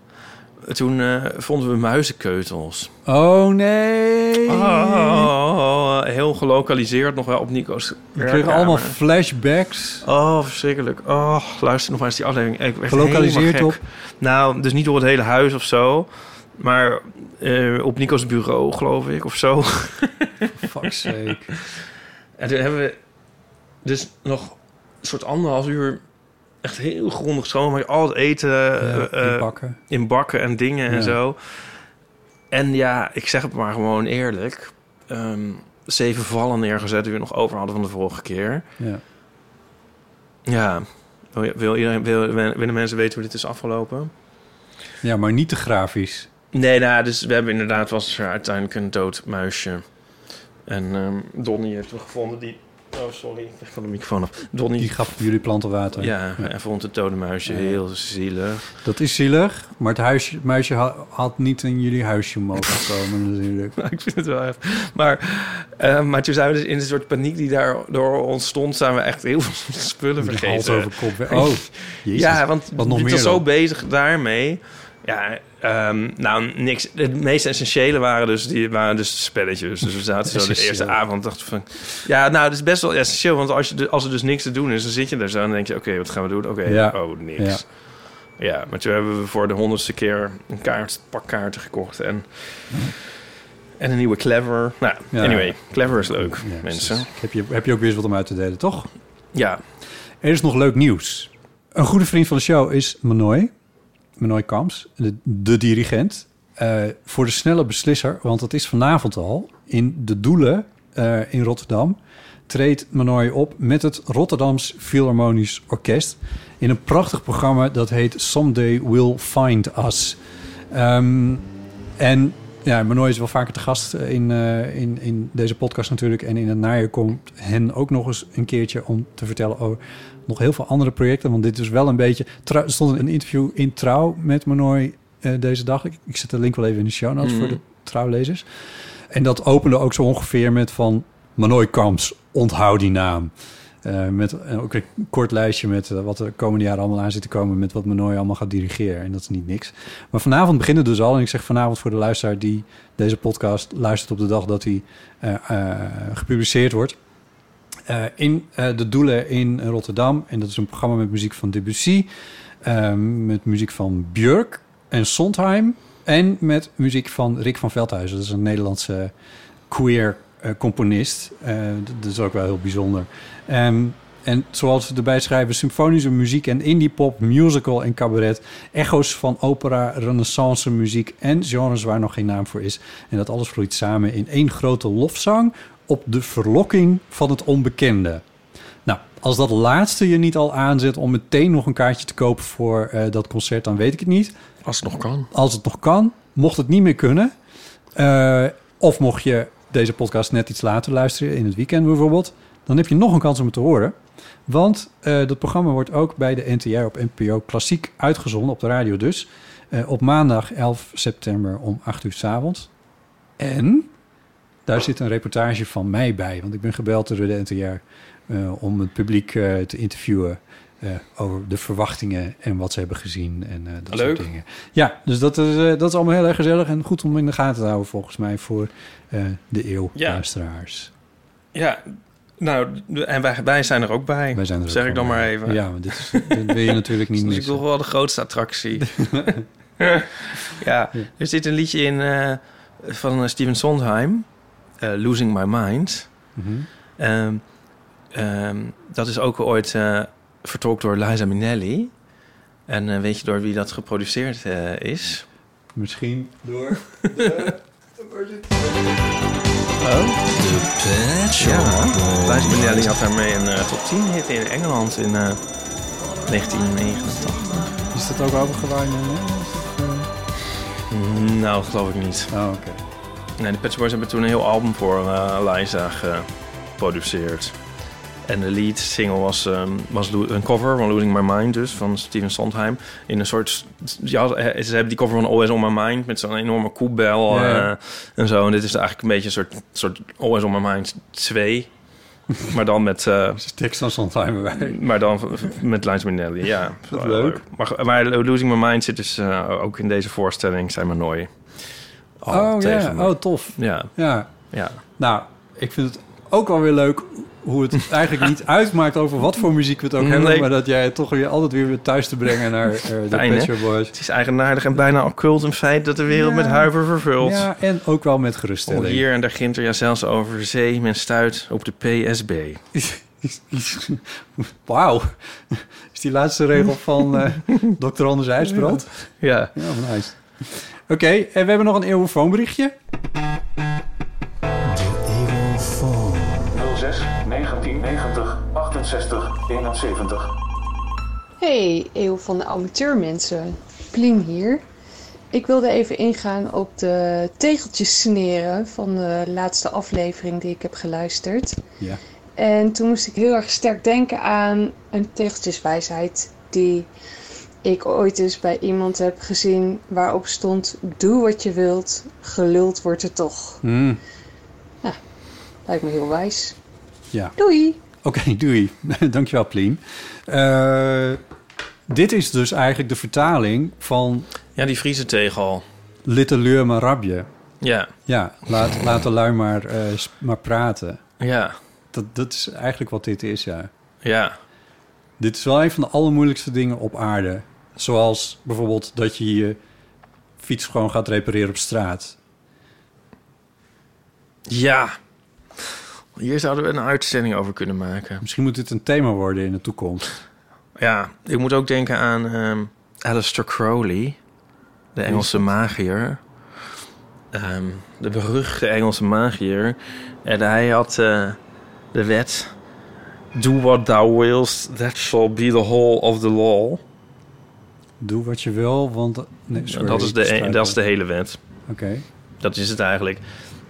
S3: Toen eh, vonden we muizenkeutels.
S2: Oh nee.
S3: Oh, oh, oh, oh, heel gelokaliseerd nog wel op Nico's.
S2: Ik kreeg
S3: werkkamer.
S2: allemaal flashbacks.
S3: Oh, verschrikkelijk. Oh, luister nog maar eens die aflevering. Ik werd
S2: Gelokaliseerd
S3: helemaal
S2: op.
S3: gek. Nou, dus niet door het hele huis of zo. Maar eh, op Nico's bureau, geloof ik, of zo. (laughs)
S2: Fuck's
S3: Eh,
S2: sake.
S3: En toen hebben we dus nog een soort anderhalf uur echt heel grondig schoonmaken. Al het eten
S2: Ja,
S3: eh,
S2: die
S3: eh,
S2: bakken.
S3: in bakken en dingen en
S2: Ja.
S3: zo. En ja, ik zeg het maar gewoon eerlijk. Ehm, zeven vallen neergezet die we nog over hadden van de vorige keer.
S2: Ja.
S3: Ja. Wil, je- wil iedereen, wil, willen mensen weten hoe dit is afgelopen?
S2: ja, maar niet te grafisch.
S3: Nee, nou, dus we hebben inderdaad, was er uiteindelijk een dood muisje. En ehm Donnie heeft hem gevonden, die... Oh, sorry, ik leg van de microfoon af. Donnie,
S2: Die gaf jullie planten water.
S3: ja, hij vond het dode muisje
S2: Ja.
S3: heel zielig. (laughs)
S2: Dat is zielig, maar het huisje, muisje ha- had niet in jullie huisje mogen komen natuurlijk.
S3: ik vind het wel echt... Maar, ehm, maar toen zijn we dus in een soort paniek die daardoor ontstond... zijn we echt heel (laughs) veel spullen
S2: Die hals
S3: vergeten.
S2: over kop. weg. Oh, jezus.
S3: Ja, want
S2: Wat nog
S3: ik
S2: meer
S3: was zo
S2: dan?
S3: bezig daarmee. Ja, ehm, nou, niks. De meest essentiële waren dus, die waren dus de spelletjes. Dus we zaten zo de eerste
S2: Essentieel.
S3: avond dachten van... Ja, nou, dat is best wel essentieel. Want als, je, de- als er dus niks te doen is, dan zit je daar zo en dan denk je... Oké, wat gaan we doen? Oké,
S2: Ja.
S3: oh, niks. Ja. maar toen hebben we voor de honderdste keer een kaart, pak kaarten gekocht. En, en een nieuwe Clever. Nou,
S2: Ja.
S3: anyway, Clever is leuk,
S2: Ja, precies.
S3: mensen.
S2: Heb je, heb je ook weer eens wat om uit te delen, toch?
S3: Ja,
S2: Er is nog leuk nieuws. Een goede vriend van de show is Manoy. Manoy Kamps, de, de dirigent. Eh, voor de snelle beslisser, want dat is vanavond al... in de Doelen eh, in Rotterdam... treedt Manoy op met het Rotterdams Philharmonisch Orkest... in een prachtig programma dat heet Someday Will Find Us. Ehm, en ja, Manoy is wel vaker te gast in, eh, in, in deze podcast natuurlijk. En in het najaar komt hen ook nog eens een keertje om te vertellen over nog heel veel andere projecten. Want dit is wel een beetje... Trouw- Er stond een interview in Trouw met Manoy eh, deze dag. Ik, ik zet de link wel even in de show notes voor de Trouwlezers. En dat opende ook zo ongeveer met van... Manoy Kamps, onthoud die naam. Eh, met eh, ook een kort lijstje met eh, wat er de komende jaren allemaal aan zit te komen... met wat Manoy allemaal gaat dirigeren. En dat is niet niks. Maar vanavond beginnen dus al. En ik zeg vanavond voor de luisteraar die deze podcast luistert op de dag dat hij eh, gepubliceerd wordt. Eh, in eh, de Doelen in Rotterdam. En dat is een programma met muziek van Debussy. eh, met muziek van Björk en Sondheim. En met muziek van Rick van Veldhuizen. Dat is een Nederlandse queer eh, componist. Eh, d- dat is ook wel heel bijzonder. Ehm, en zoals ze erbij schrijven, symfonische muziek en indie pop, musical en cabaret. Echo's van opera, renaissance muziek en genres waar nog geen naam voor is. En dat alles vloeit samen in één grote lofzang op de verlokking van het onbekende. Nou, als dat laatste je niet al aanzet om meteen nog een kaartje te kopen voor eh, dat concert, dan weet ik het niet
S3: als het nog kan.
S2: als het nog kan. Mocht het niet meer kunnen. eh, of mocht je deze podcast net iets later luisteren, in het weekend bijvoorbeeld. Dan heb je nog een kans om het te horen. Want eh, dat programma wordt ook bij de NTR op NPO Klassiek uitgezonden, op de radio dus. eh, op maandag 11 september om 8 uur 's avonds. En daar zit een reportage van mij bij. Want ik ben gebeld door de NTR eh, om het publiek eh, te interviewen. eh, over de verwachtingen en wat ze hebben gezien en eh, dat
S3: Leuk.
S2: soort dingen. Ja, dus dat is, eh, dat is allemaal heel erg gezellig en goed om in de gaten te houden volgens mij voor eh, de eeuw
S3: Ja.
S2: luisteraars.
S3: Ja, nou, d- en wij, wij zijn er ook bij.
S2: Wij zijn er ook
S3: zeg ik dan
S2: gewoon
S3: maar
S2: bij.
S3: even.
S2: Ja, want dit, is, dit wil je natuurlijk
S3: (laughs)
S2: niet
S3: dus ik
S2: missen.
S3: wil wel de grootste attractie. ja, er zit een liedje in eh, van eh, Steven Sondheim, eh, Losing My Mind.
S2: Mhm.
S3: Ehm, ehm, dat is ook ooit eh, vertolkt door Liza Minnelli. En eh, weet je door wie dat geproduceerd eh, is?
S2: Misschien door...
S3: Ja, Liza Minnelli had daarmee een eh, top 10 hit in Engeland in eh, 1989.
S2: Is dat ook overgewaaid? eh,
S3: Nou, dat geloof ik niet.
S2: Oh, oké.
S3: Nee, de Pet Shop Boys hebben toen een heel album voor eh, Liza geproduceerd. En de lead single was, ehm, was lo- een cover van Losing My Mind dus, van Steven Sondheim. In een soort... Ja, eh, ze hebben die cover van Always On My Mind met zo'n enorme koebel
S2: Ja.
S3: eh, en zo. En dit is eigenlijk een beetje een soort, soort Always On My Mind 2. maar dan met... eh,
S2: Dus tekst van Sondheim erbij.
S3: maar dan v- v- met Lines Minnelli, ja.
S2: (laughs) Dat is leuk.
S3: Maar, maar Losing My Mind zit dus eh, ook in deze voorstelling, zijn maar nooit.
S2: Oh, ja,
S3: tegen me.
S2: oh tof.
S3: Ja,
S2: Ja,
S3: ja.
S2: nou, ik vind het ook wel weer leuk hoe (laughs) het eigenlijk niet uitmaakt over wat voor muziek we het ook
S3: Nee.
S2: hebben, maar dat jij het toch weer altijd weer weer thuis te brengen naar eh, de
S3: Fijn,
S2: Pet
S3: hè?
S2: Shop Boys.
S3: Het is eigenaardig en bijna occult een feit dat de wereld
S2: Ja.
S3: met huiver vervult.
S2: Ja, en ook wel met
S3: Om
S2: geruststelling.
S3: hier en daar gint er ja zelfs over zee, men stuit op de PSB.
S2: Wauw. Is die laatste regel van eh Dr. Anders IJsbrand?
S3: Ja.
S2: Ja, nice. Oké, en we hebben nog een eeuwenfoonberichtje.
S5: 06 1990 68 71.
S6: Hey, eeuw van de amateurmensen. Plien hier. Ik wilde even ingaan op de tegeltjes sneren van de laatste aflevering die ik heb geluisterd.
S2: Ja.
S6: En toen moest ik heel erg sterk denken aan een tegeltjeswijsheid die ik ooit eens bij iemand heb gezien waarop stond doe wat je wilt, geluld wordt er toch.
S2: Hmm,
S6: Lijkt me heel wijs.
S2: ja.
S6: Doei!
S2: Oké, (laughs) doei. Dankjewel, Plien. Eh, dit is dus eigenlijk de vertaling van
S3: ja, die Friese tegel.
S2: Litte Leur maar Rabje.
S3: Ja,
S2: Ja, laat, laat de lui maar, eh, s- maar praten.
S3: ja,
S2: Dat, dat is eigenlijk wat dit is, ja.
S3: ja.
S2: Dit is wel een van de allermoeilijkste dingen op aarde. Zoals bijvoorbeeld dat je je fiets gewoon gaat repareren op straat.
S3: Ja. Hier zouden we een uitzending over kunnen maken.
S2: Misschien moet dit een thema worden in de toekomst.
S3: Ja, ik moet ook denken aan ehm Alistair Crowley, de Engelse magier. Ehm, de beruchte Engelse magier. En hij had eh, de wet... Do what thou willst, that shall be the whole of the law.
S2: Doe wat je wil, want... Nee, sorry,
S3: dat, is
S2: ik
S3: de, e-
S2: struikel.
S3: dat is de hele wet.
S2: Oké.
S3: Dat is het eigenlijk.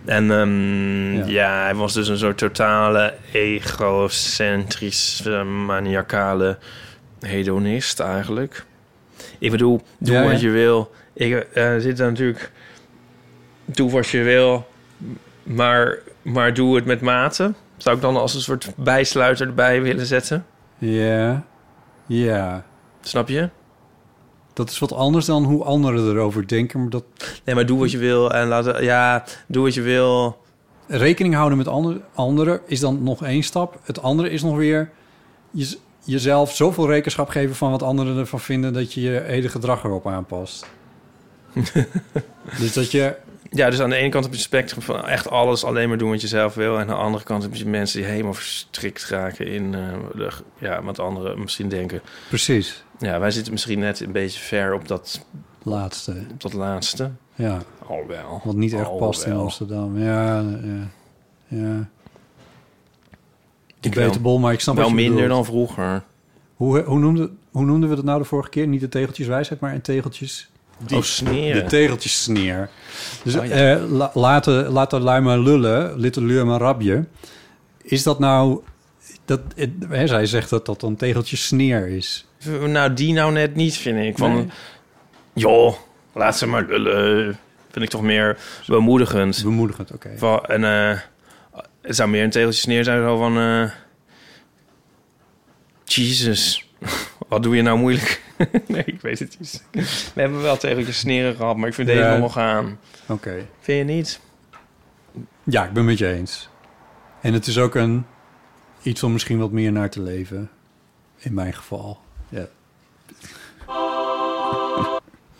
S3: En ehm,
S2: Ja.
S3: ja. hij was dus een soort totale egocentrische, maniacale hedonist eigenlijk. Ik bedoel, doe
S2: Ja,
S3: wat
S2: ja.
S3: je wil. Ik eh, zit daar natuurlijk... Doe wat je wil, maar, maar doe het met mate. Zou ik dan als een soort bijsluiter erbij willen zetten?
S2: Ja. Ja.
S3: Snap je?
S2: Dat is wat anders dan hoe anderen erover denken. Maar dat
S3: Nee, maar doe wat je wil en laat... Ja, doe wat je wil...
S2: rekening houden met ander, anderen is dan nog één stap. Het andere is nog weer je, jezelf zoveel rekenschap geven van wat anderen ervan vinden dat je je hele gedrag erop
S3: (laughs)
S2: aanpast. dus dat je.
S3: Ja, dus aan de ene kant heb je het spectrum van echt alles alleen maar doen wat je zelf wil. En aan de andere kant heb je mensen die helemaal verstrikt raken in eh, de, ja, wat anderen misschien denken.
S2: Precies,
S3: Ja, wij zitten misschien net een beetje ver op dat,
S2: laatste.
S3: op dat laatste.
S2: Ja,
S3: Alhoewel.
S2: wat niet
S3: Oh,
S2: echt past in
S3: Alhoewel.
S2: Amsterdam. Ja, ja. ja.
S3: Ik
S2: Beter
S3: wel,
S2: bol, maar ik snap
S3: wel
S2: wat je
S3: minder
S2: bedoelt.
S3: dan vroeger.
S2: Hoe, hoe, noemden, hoe noemden we dat nou de vorige keer? Niet de tegeltjeswijsheid, maar een tegeltjes.
S3: Die, oh,
S2: De
S3: sneren.
S2: tegeltjes sneer. Dus
S3: Oh, ja.
S2: eh, la- laten, laten lui maar lullen, litte leur maar rabje. Is dat nou... Dat, eh, hè, zij zegt dat dat een tegeltje sneer is.
S3: nou, die nou net niet, vind ik. Van,
S2: Nee.
S3: joh, laat ze maar lullen. Vind ik toch meer bemoedigend.
S2: Bemoedigend, oké.
S3: Van, en, eh, het zou meer een tegeltje sneer zijn zo van... eh Jezus, (laughs) Wat doe je nou moeilijk? (laughs) nee, ik weet het niet. We hebben wel tegeltjes sneren gehad, maar ik vind deze
S2: Ja.
S3: nog aan.
S2: Oké.
S3: Vind je niet?
S2: Ja, ik ben met je eens. En het is ook een iets om misschien wat meer naar te leven. In mijn geval. Ja. (laughs)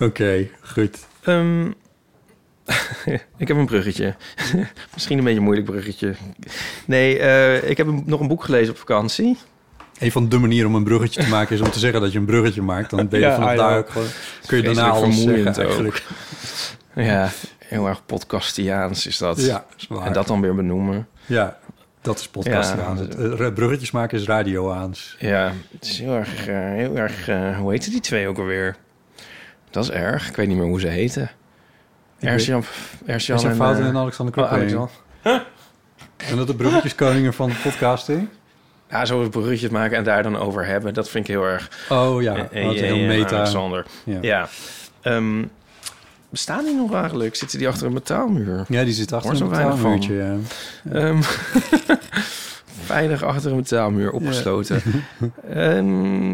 S2: Oké, goed.
S3: Ehm, (laughs) ik heb een bruggetje. (laughs) Misschien een beetje een moeilijk bruggetje. Nee, eh, ik heb een- nog een boek gelezen op vakantie.
S2: Een van de manieren om een bruggetje te maken is om te zeggen dat je een bruggetje maakt. Dan ben je
S3: Ja,
S2: vanaf
S3: ah, ja.
S2: daar ook gewoon. Kun je daarna
S3: Vreselijk
S2: alles zeggen,
S3: vermoeiend ook.
S2: eigenlijk.
S3: Ja, heel erg podcastiaans is dat.
S2: Ja, is waar.
S3: En dat dan weer benoemen.
S2: ja, dat is podcast aan. eh,
S3: Ja.
S2: Bruggetjes maken is radio aans.
S3: Ja, het is heel erg... eh, heel erg eh, hoe heette die twee ook alweer? Dat is erg. Ik weet niet meer hoe ze heten.
S2: weet-
S3: Erjan
S2: Er
S3: Erjan
S2: zijn
S3: en...
S2: fouten
S3: eh,
S2: en Alexander
S3: oh,
S2: Koppé.
S3: Alexander.
S2: en dat de bruggetjeskoningen van de podcasting.
S3: Ja, zo een bruggetje maken en daar dan over hebben. Dat vind ik heel erg...
S2: Oh ja,
S3: eh, eh,
S2: dat is heel
S3: eh,
S2: meta.
S3: Alexander.
S2: Ja.
S3: Ja. Ehm, bestaan die nog eigenlijk? Zitten die achter een metaalmuur?
S2: Ja, die zit achter
S3: Hoor zo
S2: een
S3: weinig van.
S2: betaalmuurtje. Ja.
S3: Ehm, (laughs) veilig achter een metaalmuur opgesloten.
S2: (laughs)
S3: Ehm,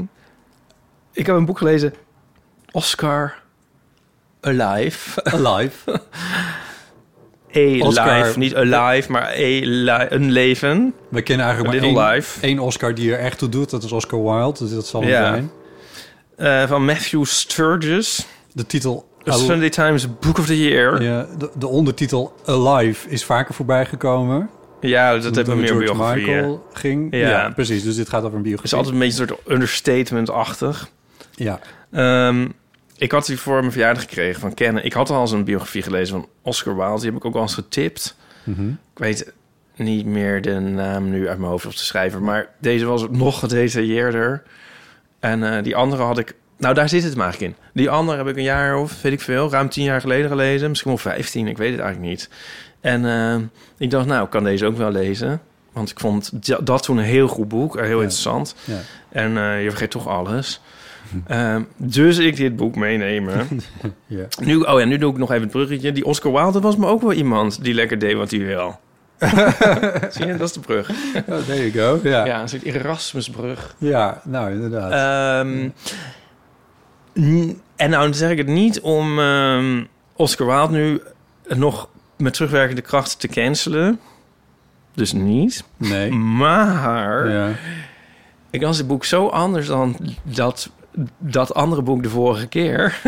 S3: ik heb een boek gelezen. Oscar Alive.
S2: Alive.
S3: Alive,
S2: Oscar.
S3: niet alive, maar ali- een leven.
S2: We kennen
S3: A
S2: eigenlijk maar
S3: Little
S2: één,
S3: Life.
S2: één Oscar die er echt toe doet. Dat is Oscar Wilde. Dus dat zal hem
S3: Ja.
S2: zijn.
S3: eh, van Matthew Sturgis.
S2: De titel...
S3: The Sunday Times Book of the Year. Ja,
S2: Oh. Ja, de, de ondertitel Alive is vaker voorbij gekomen.
S3: dat hebben we
S2: Toen
S3: meer
S2: George
S3: biografieën.
S2: Michael ging. Ja.
S3: Ja.
S2: precies. Dus dit gaat over een
S3: Het is
S2: biografie.
S3: altijd een beetje een soort understatement-achtig.
S2: Ja,
S3: Ehm, ik had die voor mijn verjaardag gekregen van Kennen. Ik had al eens een biografie gelezen van Oscar Wilde. Die heb ik ook al eens getipt.
S2: Mhm.
S3: Ik weet niet meer de naam nu uit mijn hoofd of te schrijven. Maar deze was nog gedetailleerder. En eh, die andere had ik... Nou, daar zit het hem eigenlijk in. Die andere heb ik een jaar of, weet ik veel, ruim tien jaar geleden gelezen. Misschien wel vijftien, ik weet het eigenlijk niet. En eh, ik dacht, nou, ik kan deze ook wel lezen. Want ik vond dat- dat toen een heel goed boek, eh, heel interessant.
S2: ja.
S3: En eh, je vergeet toch alles. Ehm, dus ik dit boek meenemen.
S2: Ja.
S3: nu, oh ja, nu doe ik nog even het bruggetje. Die Oscar Wilde was me ook wel iemand die lekker deed wat hij wil. Zie je, dat is de brug.
S2: Oh, there you go. Ja, ja.
S3: Ja, een soort Erasmusbrug.
S2: nou inderdaad.
S3: Ehm, n- en nou zeg ik het niet om ehm, Oscar Wilde nu nog met terugwerkende kracht te cancelen. Dus niet.
S2: nee.
S3: Maar...
S2: Ja.
S3: Ik las dit boek zo anders dan dat, dat andere boek de vorige keer.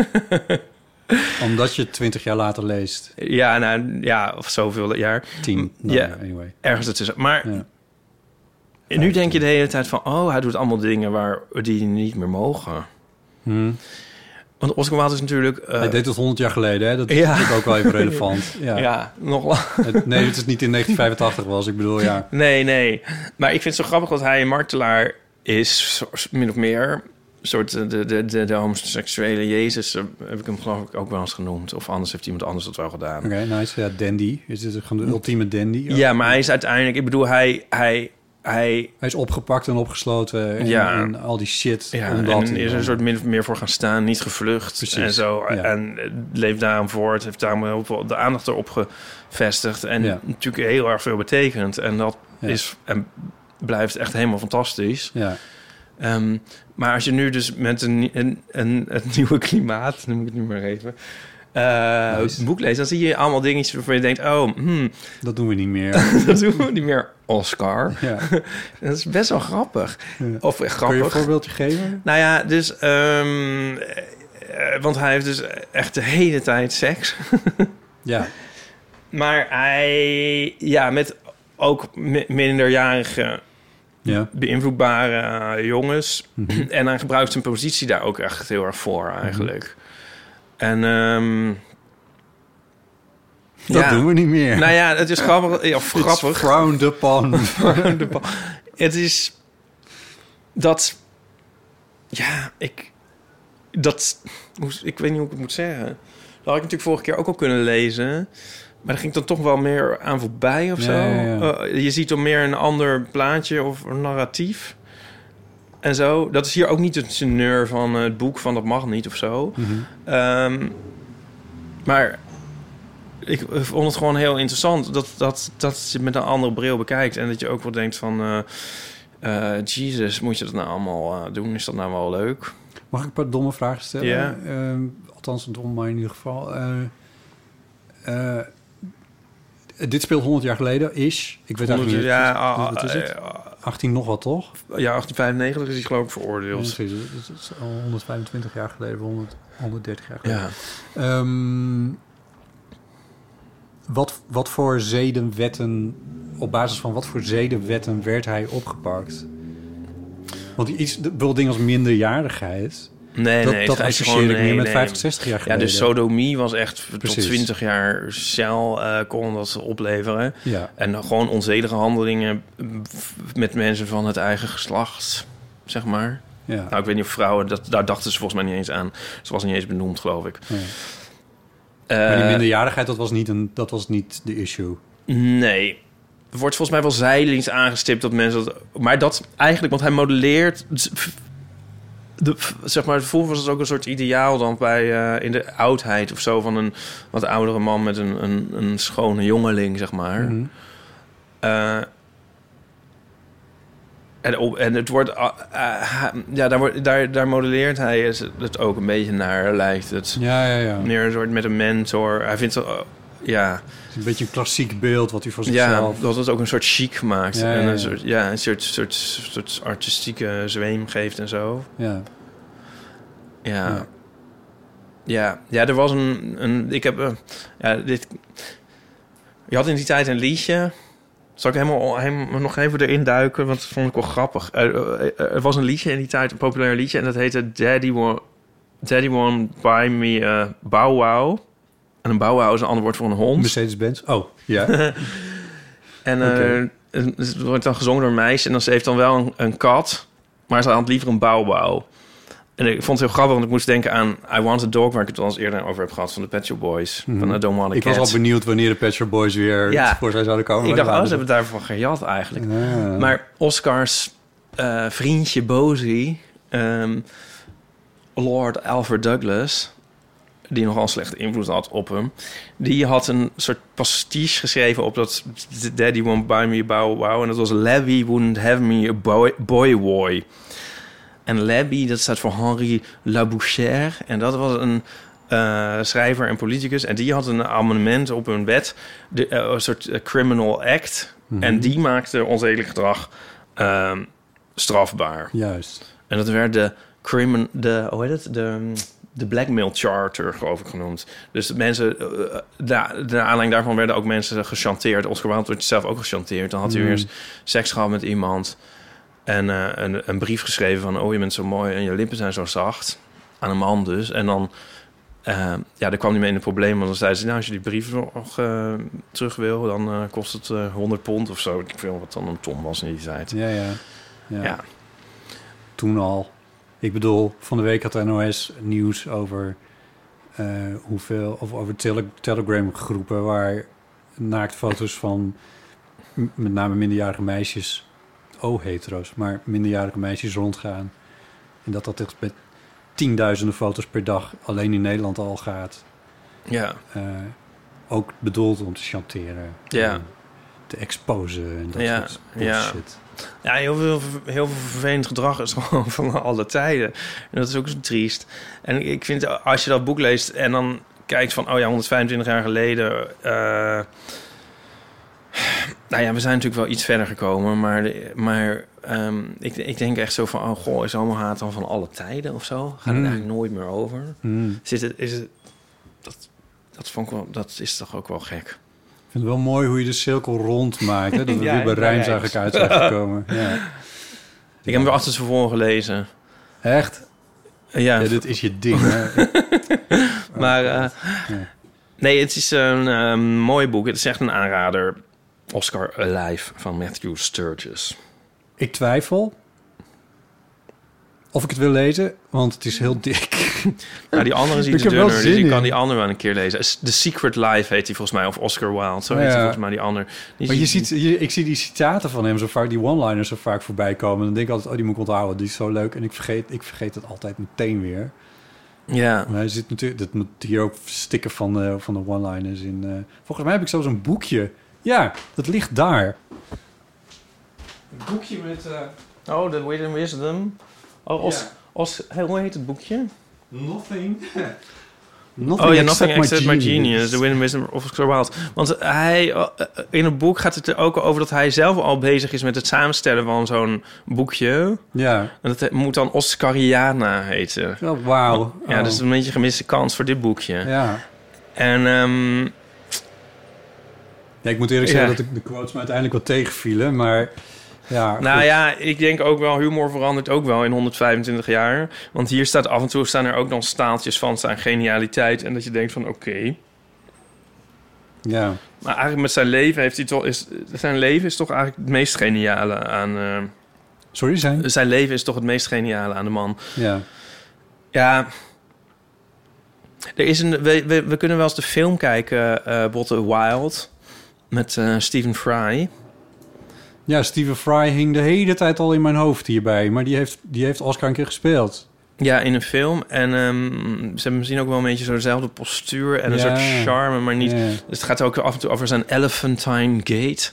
S3: (laughs)
S2: Omdat je het twintig jaar later leest.
S3: ja, nou, ja, of zoveel jaar.
S2: Tien. Nou,
S3: Ja.
S2: ja. Anyway.
S3: Ergens ertussen. Maar
S2: Ja.
S3: en nu denk je de hele tijd van... oh, hij doet allemaal dingen waar, die niet meer mogen.
S2: Hm.
S3: Want Oscar Wilde is natuurlijk... eh,
S2: Hij deed het 100 jaar geleden, hè? Dat is
S3: Ja.
S2: natuurlijk ook wel
S3: (laughs)
S2: even relevant. Ja.
S3: ja. nog lang. (laughs)
S2: Het- nee, het is niet in 1985 was. Ik bedoel, ja.
S3: Nee, nee. Maar ik vind het zo grappig dat hij een martelaar is, zo- min of meer. Een soort eh, de, de, de, de homoseksuele Jezus, eh, heb ik hem geloof ik ook wel eens genoemd. Of anders heeft iemand anders dat wel gedaan.
S2: Oké, nice. Ja, dandy. Is dit gewoon de ultieme dandy?
S3: Ja, maar hij is uiteindelijk... Ik bedoel, hij... hij, hij
S2: Hij is opgepakt en opgesloten en,
S3: Ja.
S2: en al die shit.
S3: ja,
S2: omdat hij
S3: en is er
S2: dan-
S3: een soort min of meer voor gaan staan. Niet gevlucht
S2: Precies,
S3: en zo.
S2: ja.
S3: En eh, leeft daarom voort. Heeft daarom heel veel de aandacht erop gevestigd. En
S2: Ja.
S3: natuurlijk heel erg veel betekend. En dat
S2: Ja.
S3: is... En, blijft echt helemaal fantastisch.
S2: Ja,
S3: Ehm, maar als je nu dus met een, een, een, het nieuwe klimaat, noem ik het nu maar even, eh,
S2: Nice.
S3: een boek leest, dan zie je allemaal dingetjes waarvan je denkt, oh, hmm, (laughs)
S2: dat doen we niet meer.
S3: dat doen we niet meer, Oscar.
S2: ja.
S3: Dat is best wel grappig. Of eh,
S2: Kun je een
S3: grappig.
S2: voorbeeldje geven?
S3: Nou ja, dus... ehm, eh, eh, want hij heeft dus echt de hele tijd seks. (laughs)
S2: Ja,
S3: Maar hij... Ja, met ook mi- minderjarige
S2: ja.
S3: beïnvloedbare eh, jongens.
S2: Mhm.
S3: En hij gebruikt zijn positie daar ook echt heel erg voor, eigenlijk. En... ehm,
S2: Dat
S3: ja.
S2: doen we niet meer.
S3: Nou ja, het is
S2: (laughs)
S3: grappig. Ja, of
S2: It's
S3: grappig.
S2: frowned
S3: (laughs)
S2: upon.
S3: de bal. Het is dat. Ja, ik. Dat. hoe- Ik weet niet hoe ik het moet zeggen. Dat had ik natuurlijk vorige keer ook al kunnen lezen. Maar daar ging ik dan toch wel meer aan voorbij of
S2: Ja,
S3: zo.
S2: ja, ja.
S3: Eh, je ziet dan meer een ander plaatje of een narratief. En zo. Dat is hier ook niet het teneur van eh, het boek van dat mag niet of zo. Ehm, maar ik eh, vond het gewoon heel interessant dat, dat, dat je het met een andere bril bekijkt. En dat je ook wel denkt van... eh, eh Jesus, moet je dat nou allemaal eh, doen? Is dat nou wel leuk?
S2: Mag ik een paar domme vragen stellen?
S3: Ja.
S2: Ehm, althans, een domme maar in ieder geval. Eh, eh, dit speelt 100 jaar geleden, is. Ik weet eigenlijk
S3: Honderd-
S2: niet.
S3: ja, ah,
S2: wat is het?
S3: eh,
S2: 18 nog wat, toch?
S3: ja, 1895 is hij geloof ik veroordeeld.
S2: Ja, precies. Dus Het is al 125 jaar geleden, 100, 130 jaar geleden.
S3: Ja.
S2: Ehm, wat, wat voor zedenwetten, op basis van wat voor zedenwetten werd hij opgepakt? Want iets, wel dingen als minderjarigheid,
S3: Nee,
S2: dat,
S3: nee.
S2: dat
S3: het is
S2: associeer
S3: gewoon-
S2: ik meer
S3: nee,
S2: met
S3: nee.
S2: 50, 60 jaar
S3: Ja,
S2: geleden.
S3: dus sodomie was echt tot
S2: Precies.
S3: 20 jaar cel eh, kon dat opleveren.
S2: Ja,
S3: En dan gewoon onzedige handelingen mm, f- met mensen van het eigen geslacht, zeg maar.
S2: ja.
S3: Nou, ik weet niet of vrouwen, dat, daar dachten ze volgens mij niet eens aan. Ze was niet eens benoemd, geloof ik.
S2: Nee.
S3: Eh,
S2: maar die minderjarigheid, dat was niet, een, dat was niet de issue.
S3: Nee. Er wordt volgens mij wel zijdelings aangestipt dat mensen dat... Maar dat eigenlijk, want hij modelleert... De, zeg maar, vroeger was het ook een soort ideaal dan bij, eh, in de oudheid of zo... van een wat oudere man met een, een, een schone jongeling, zeg maar.
S2: Mhm.
S3: Eh, en, op, en het wordt... ah, ah, ha- ja, daar, wordt- daar, daar modelleert hij het- het ook een beetje naar, lijkt het.
S2: Ja, ja, ja.
S3: Meer een soort met een mentor. Hij vindt... het, eh, ja...
S2: Het is een beetje een klassiek beeld wat hij voor
S3: Ja,
S2: zichzelf...
S3: dat het ook een soort chic maakt.
S2: Ja, ja,
S3: en
S2: ja.
S3: een soort, ja, een soort, soort, soort artistieke zweem geeft en zo.
S2: Ja,
S3: Ja.
S2: Ja.
S3: Ja, ja, er was een. een ik heb. eh, ja, dit, je had in die tijd een liedje. Zal ik helemaal, helemaal nog even erin duiken? Want dat vond ik wel grappig. Er, er- er was een liedje in die tijd, een populair liedje. En dat heette Daddy Won't, Daddy won't Buy Me a Bow Wow. En een bow wow is een ander woord voor een hond.
S2: Mercedes-Benz. Oh,
S3: (laughs)
S2: ja.
S3: En
S2: Oké.
S3: eh, het- het wordt dan gezongen door een meisje. En dan, ze heeft dan wel een, een kat. Maar ze had liever een bouwbouw. En ik vond het heel grappig, want ik moest denken aan I Want a Dog... waar ik het al eens eerder over heb gehad, van de Pet Shop Boys. Van I Don't Want a
S2: Mhm. ik
S3: Cat.
S2: was al benieuwd wanneer de Pet Shop Boys weer
S3: Ja.
S2: voor zijn zouden komen.
S3: Ik dacht, oh,
S2: Maar
S3: ze hebben daarvan gejat eigenlijk.
S2: Ja.
S3: Maar Oscars eh, vriendje Bozy, ehm, Lord Alfred Douglas, die nogal slecht invloed had op hem, die had een soort pastiche geschreven op dat Daddy won't buy me a bow wow. En dat was Labby wouldn't have me a boy boy. boy. En Labby, dat staat voor Henri Labouchere. En dat was een eh, schrijver en politicus. En die had een amendement op hun wet. De, eh, een soort eh, criminal act. En die maakte onzedelijk gedrag ehm, strafbaar.
S2: Juist.
S3: En dat werd de, crimin, de, hoe heet het? de, mm, de blackmail charter, geloof ik, genoemd. Dus de mensen, eh, da- de, aanleiding daarvan werden ook mensen gechanteerd. Oscar Wilde werd zelf ook gechanteerd. Dan had hij eerst seks gehad met iemand. En eh, een, een brief geschreven van, oh, je bent zo mooi en je lippen zijn zo zacht. Aan een man dus. En dan, eh, ja, daar kwam hij mee in een probleem. Want dan zei ze, nou, als je die brief nog eh, terug wil, dan eh, kost het eh 100 pond of zo. Ik weet niet wat dan een ton was in die tijd.
S2: Ja, ja. ja.
S3: ja.
S2: Toen al. Ik bedoel, van de week had de NOS nieuws over eh, hoeveel, of over tele- Telegram groepen waar naaktfoto's van m- met name minderjarige meisjes, oh hetero's, maar minderjarige meisjes rondgaan. En dat dat echt met tienduizenden foto's per dag alleen in Nederland al gaat.
S3: ja.
S2: eh, ook bedoeld om te chanteren.
S3: Ja.
S2: en Te exposen en dat
S3: Ja,
S2: soort
S3: ja.
S2: bullshit.
S3: Ja, heel veel, heel veel vervelend gedrag is (laughs) gewoon van alle tijden. En dat is ook zo triest. En ik vind, als je dat boek leest en dan kijkt van... oh ja, 125 jaar geleden... eh, nou ja, we zijn natuurlijk wel iets verder gekomen. Maar, de- maar ehm, ik, ik denk echt zo van... oh goh, is allemaal haat dan van alle tijden of zo? Gaat
S2: Mm.
S3: het eigenlijk nooit meer over?
S2: Hmm.
S3: Zit het, is het, dat, dat, vond ik wel, dat is toch ook wel gek?
S2: Ik vind het wel mooi hoe je de cirkel rond maakt. Hè? Dat we
S3: (laughs) Ja,
S2: weer bij
S3: ja,
S2: Rijms
S3: ja.
S2: eigenlijk uit zijn
S3: (laughs)
S2: gekomen. Ja.
S3: Ik heb hem weer achter tevoren gelezen.
S2: Echt?
S3: Ja,
S2: Ja, dit is je ding.
S3: (laughs)
S2: Hè?
S3: Maar eh,
S2: Oh, Ja.
S3: nee, het is een eh, mooi boek. Het is echt een aanrader. Oscar Alive van Matthew Sturgis.
S2: Ik twijfel of ik het wil lezen, want het is heel dik.
S3: Nou, die andere is iets
S2: heb wel
S3: dunner, dus
S2: zin
S3: ik kan
S2: in.
S3: die andere wel een keer lezen. The Secret Life heet die volgens mij, of Oscar Wilde. Zo
S2: Ja.
S3: heet die volgens mij, die andere. Die
S2: Maar je
S3: is-
S2: ziet, je- ik zie die citaten van hem zo vaak, die one-liners zo vaak voorbij komen. Dan denk ik altijd, oh, die moet ik onthouden, die is zo leuk. En ik vergeet, ik vergeet het altijd meteen weer.
S3: Ja,
S2: Maar hij zit natuurlijk, dat moet hier ook stikken van de, van de one-liners eh. in. eh. volgens mij heb ik zelfs een boekje. Ja, dat ligt daar. Een boekje met... eh,
S3: Oh, de Wit Wisdom. Oh, als,
S2: Ja.
S3: als, hoe heet het boekje?
S2: Nothing.
S3: Oh ja, Nothing
S2: except
S3: Except My Genius, The Wind Wisdom of Oscar Wilde. Want hij, eh, eh, in het boek gaat het er ook over dat hij zelf al bezig is met het samenstellen van zo'n boekje.
S2: Ja,
S3: En dat he- moet dan Oscariana heten.
S2: oh, wauw.
S3: Ja,
S2: Oh.
S3: dus een beetje gemiste kans voor dit boekje.
S2: Ja.
S3: En ehm,
S2: Ja, ik moet eerlijk zeggen
S3: Ja.
S2: dat ik de quotes me uiteindelijk wel tegenvielen, maar ja.
S3: nou
S2: goed.
S3: ja, ik denk ook wel, humor verandert ook wel in 125 jaar. Want hier staat af en toe staan er ook dan staaltjes van zijn genialiteit. En dat je denkt van oké.
S2: ja.
S3: Maar eigenlijk met zijn leven heeft hij toch, is, zijn leven is toch eigenlijk het meest geniale aan... eh,
S2: Sorry, zijn?
S3: Zijn leven is toch het meest geniale aan de man.
S2: Ja.
S3: Ja. Er is een, we, we, we kunnen wel eens de film kijken, eh Botte Wild. Met eh, Stephen Fry.
S2: ja, Steven Fry hing de hele tijd al in mijn hoofd hierbij, maar die heeft, die heeft Oscar een keer gespeeld.
S3: Ja, in een film. En ehm, ze hebben misschien ook wel een beetje zo dezelfde postuur en een
S2: Ja.
S3: soort charme, maar niet.
S2: Ja.
S3: Dus het gaat ook af en toe over zijn Elephantine Gate.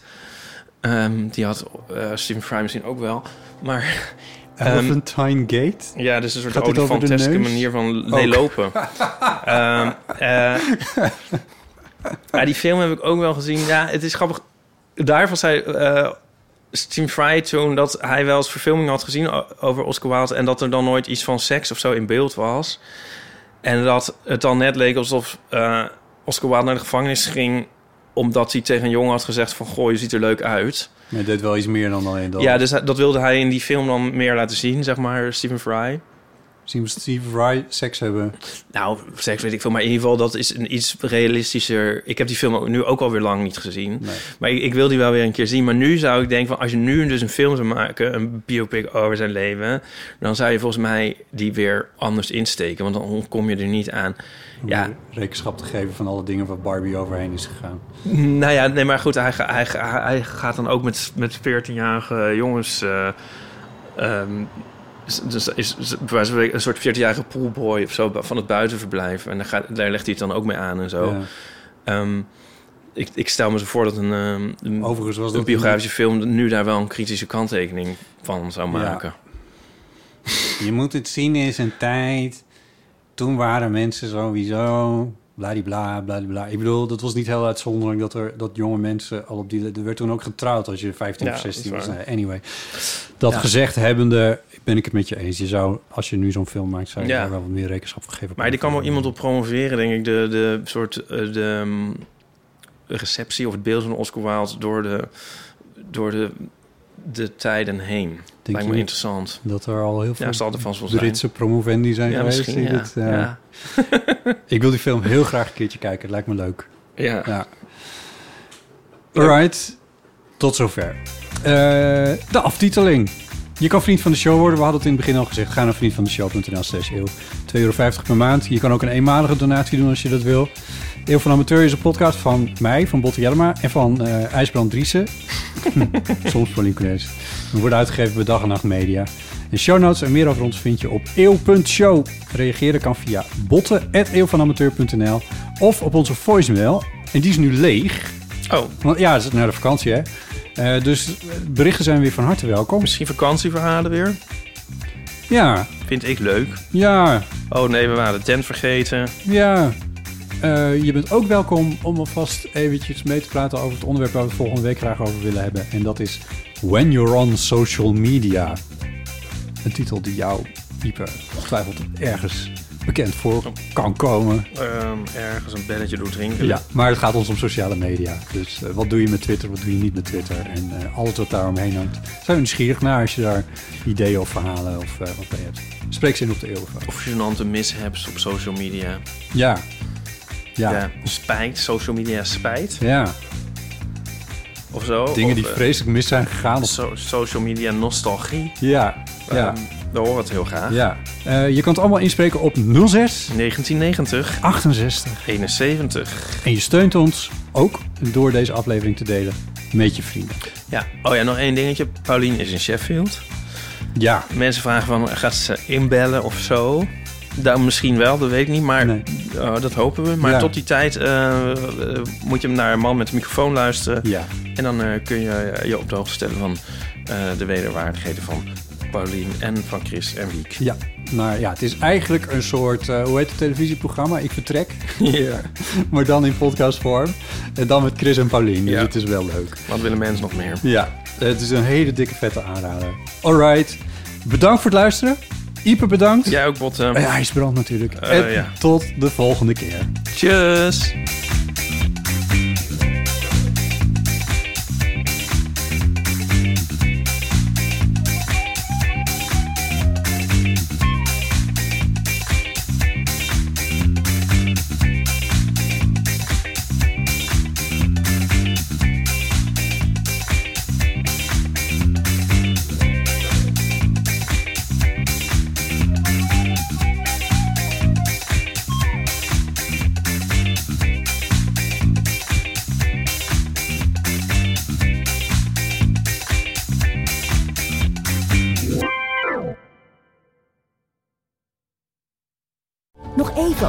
S3: Ehm, die had eh, Stephen Fry misschien ook wel. Maar Ehm,
S2: Elephantine Gate?
S3: ja, dus een soort
S2: Gaat het over de
S3: olifanteske
S2: neus?
S3: manier van
S2: (laughs)
S3: leelopen. Ehm, eh, maar die film heb ik ook wel gezien. Ja, het is grappig. Daarvan zei eh Steve Fry toen dat hij wel eens verfilming had gezien o- over Oscar Wilde... en dat er dan nooit iets van seks of zo in beeld was. En dat het dan net leek alsof eh, Oscar Wilde naar de gevangenis ging... omdat hij tegen een jongen had gezegd van... goh, je ziet er leuk uit.
S2: Nee, dit wel iets meer dan alleen dat.
S3: Ja, dus hij- dat wilde hij in die film dan meer laten zien, zeg maar, Stephen Fry.
S2: Zien we Steven Fry seks hebben?
S3: Nou, seks weet ik veel. Maar in ieder geval, dat is een iets realistischer... Ik heb die film ook- nu ook alweer lang niet gezien.
S2: Nee.
S3: Maar ik, ik wil die wel weer een keer zien. Maar nu zou ik denken, van, als je nu dus een film zou maken... een biopic over zijn leven... dan zou je volgens mij die weer anders insteken. Want dan kom je er niet aan.
S2: Om
S3: Ja,
S2: Rekenschap te geven van alle dingen waar Barbie overheen is gegaan.
S3: nou ja, nee, maar goed. Hij, ga- hij, ga- hij gaat dan ook met, met 14-jarige jongens... eh, ehm, is- dus is, is bij wijze van spreken een soort 14-jarige poolboy of zo van het buitenverblijf. En daar, gaat, daar legt hij het dan ook mee aan en zo.
S2: Ja.
S3: Ehm, ik, ik stel me zo voor dat een, ehm, een,
S2: Overigens was
S3: een
S2: dat...
S3: biografische film nu daar wel een kritische kanttekening van zou
S2: Ja.
S3: maken.
S2: Je moet het zien in zijn tijd. Toen waren mensen sowieso... Bladibla, bladibla. Ik bedoel, dat was niet heel uitzonderlijk dat, er, dat jonge mensen al op die... Er werd toen ook getrouwd als je 15 of
S3: Ja, dat is
S2: 16 was.
S3: waar.
S2: Nou, Anyway. Dat gezegd hebbende ben ik het met je eens. Je zou, als je nu zo'n film maakt, zou je
S3: Ja.
S2: daar wel wat meer rekenschap van geven.
S3: Maar die kan wel iemand op promoveren, denk ik. De, de soort eh, de, ehm, receptie of het beeld van Oscar Wilde door de, door de, de tijden heen.
S2: Denk
S3: Lijkt
S2: je
S3: me
S2: niet
S3: interessant.
S2: dat er al heel veel
S3: Ja, zal er vast wel zijn.
S2: Britse promovendi zijn
S3: Ja,
S2: geweest?
S3: misschien.
S2: die
S3: Ja.
S2: dit, eh,
S3: ja.
S2: Ik wil die film heel graag een keertje kijken. Het lijkt me leuk.
S3: Ja.
S2: Ja. Alright, tot zover. Eh, de aftiteling. Je kan vriend van de show worden. We hadden het in het begin al gezegd. Ga naar vriendvandeshow.nl slash eeuw. 2,50 euro per maand. Je kan ook een eenmalige donatie doen als je dat wil. Eeuw van Amateur is een podcast van mij, van Botte Jellema en van eh, IJsbrand Driessen. (laughs) Soms Paulien Cornelis. We worden uitgegeven bij Dag en Nacht Media. En show notes en meer over ons vind je op eeuw.show. Reageren kan via botten.eeuwvanamateur.nl of op onze voicemail. En die is nu leeg.
S3: Oh,
S2: Want ja, het is naar de vakantie, hè? Eh, dus berichten zijn weer van harte welkom.
S3: misschien vakantieverhalen weer.
S2: Ja,
S3: Vind ik leuk.
S2: ja,
S3: Oh nee, we waren de tent vergeten.
S2: ja. Eh, je bent ook welkom om alvast eventjes mee te praten over het onderwerp waar we het volgende week graag over willen hebben. En dat is When You're On Social Media. Een titel die jou, Ieper, ongetwijfeld ergens bekend voor kan komen.
S3: Ehm, ergens een belletje door drinken.
S2: Ja, maar het gaat ons om sociale media. Dus eh, wat doe je met Twitter, wat doe je niet met Twitter? En eh, alles wat daar omheen hangt. Zijn we nieuwsgierig naar als je daar ideeën of verhalen of eh, wat bij hebt. Spreek ze in op de eeuwige.
S3: Of gênante mishaps op social media.
S2: Ja. Ja.
S3: Ja.
S2: Ja.
S3: Spijt, social media spijt of zo.
S2: Dingen
S3: Of,
S2: die
S3: eh,
S2: vreselijk mis zijn gegaan. Of...
S3: so- social media nostalgie.
S2: Ja. Ja.
S3: Ehm, we horen het heel graag.
S2: ja. Eh, je kan het allemaal inspreken op 06
S3: 1990,
S2: 68.
S3: 71.
S2: En je steunt ons ook door deze aflevering te delen met je vrienden.
S3: Ja, oh ja, nog één dingetje. Paulien is in Sheffield.
S2: Ja.
S3: Mensen vragen van, gaat ze inbellen of zo? Nou, misschien wel, dat weet ik niet, maar
S2: Nee.
S3: eh, dat hopen we. Maar
S2: Ja.
S3: tot die tijd eh, eh, moet je naar een man met een microfoon luisteren.
S2: Ja.
S3: En dan eh, kun je eh, je op de hoogte stellen van eh, de wederwaardigheden van Paulien en van Chris en Wiek.
S2: Ja, maar ja, het is eigenlijk een soort, eh, hoe heet het televisieprogramma? Ik vertrek,
S3: (laughs) Ja.
S2: (laughs) maar dan in podcastvorm. En dan met Chris en Paulien, dus
S3: Ja.
S2: het is wel leuk.
S3: Wat willen mensen nog meer?
S2: Ja, het is een hele dikke vette aanrader. Alright, bedankt voor het luisteren. Ipe bedankt. Oh
S3: Jij ook, Botte.
S2: Ja, hij is brand natuurlijk.
S3: Eh,
S2: en
S3: ja.
S2: tot de volgende keer.
S3: Tjus.
S1: Nog even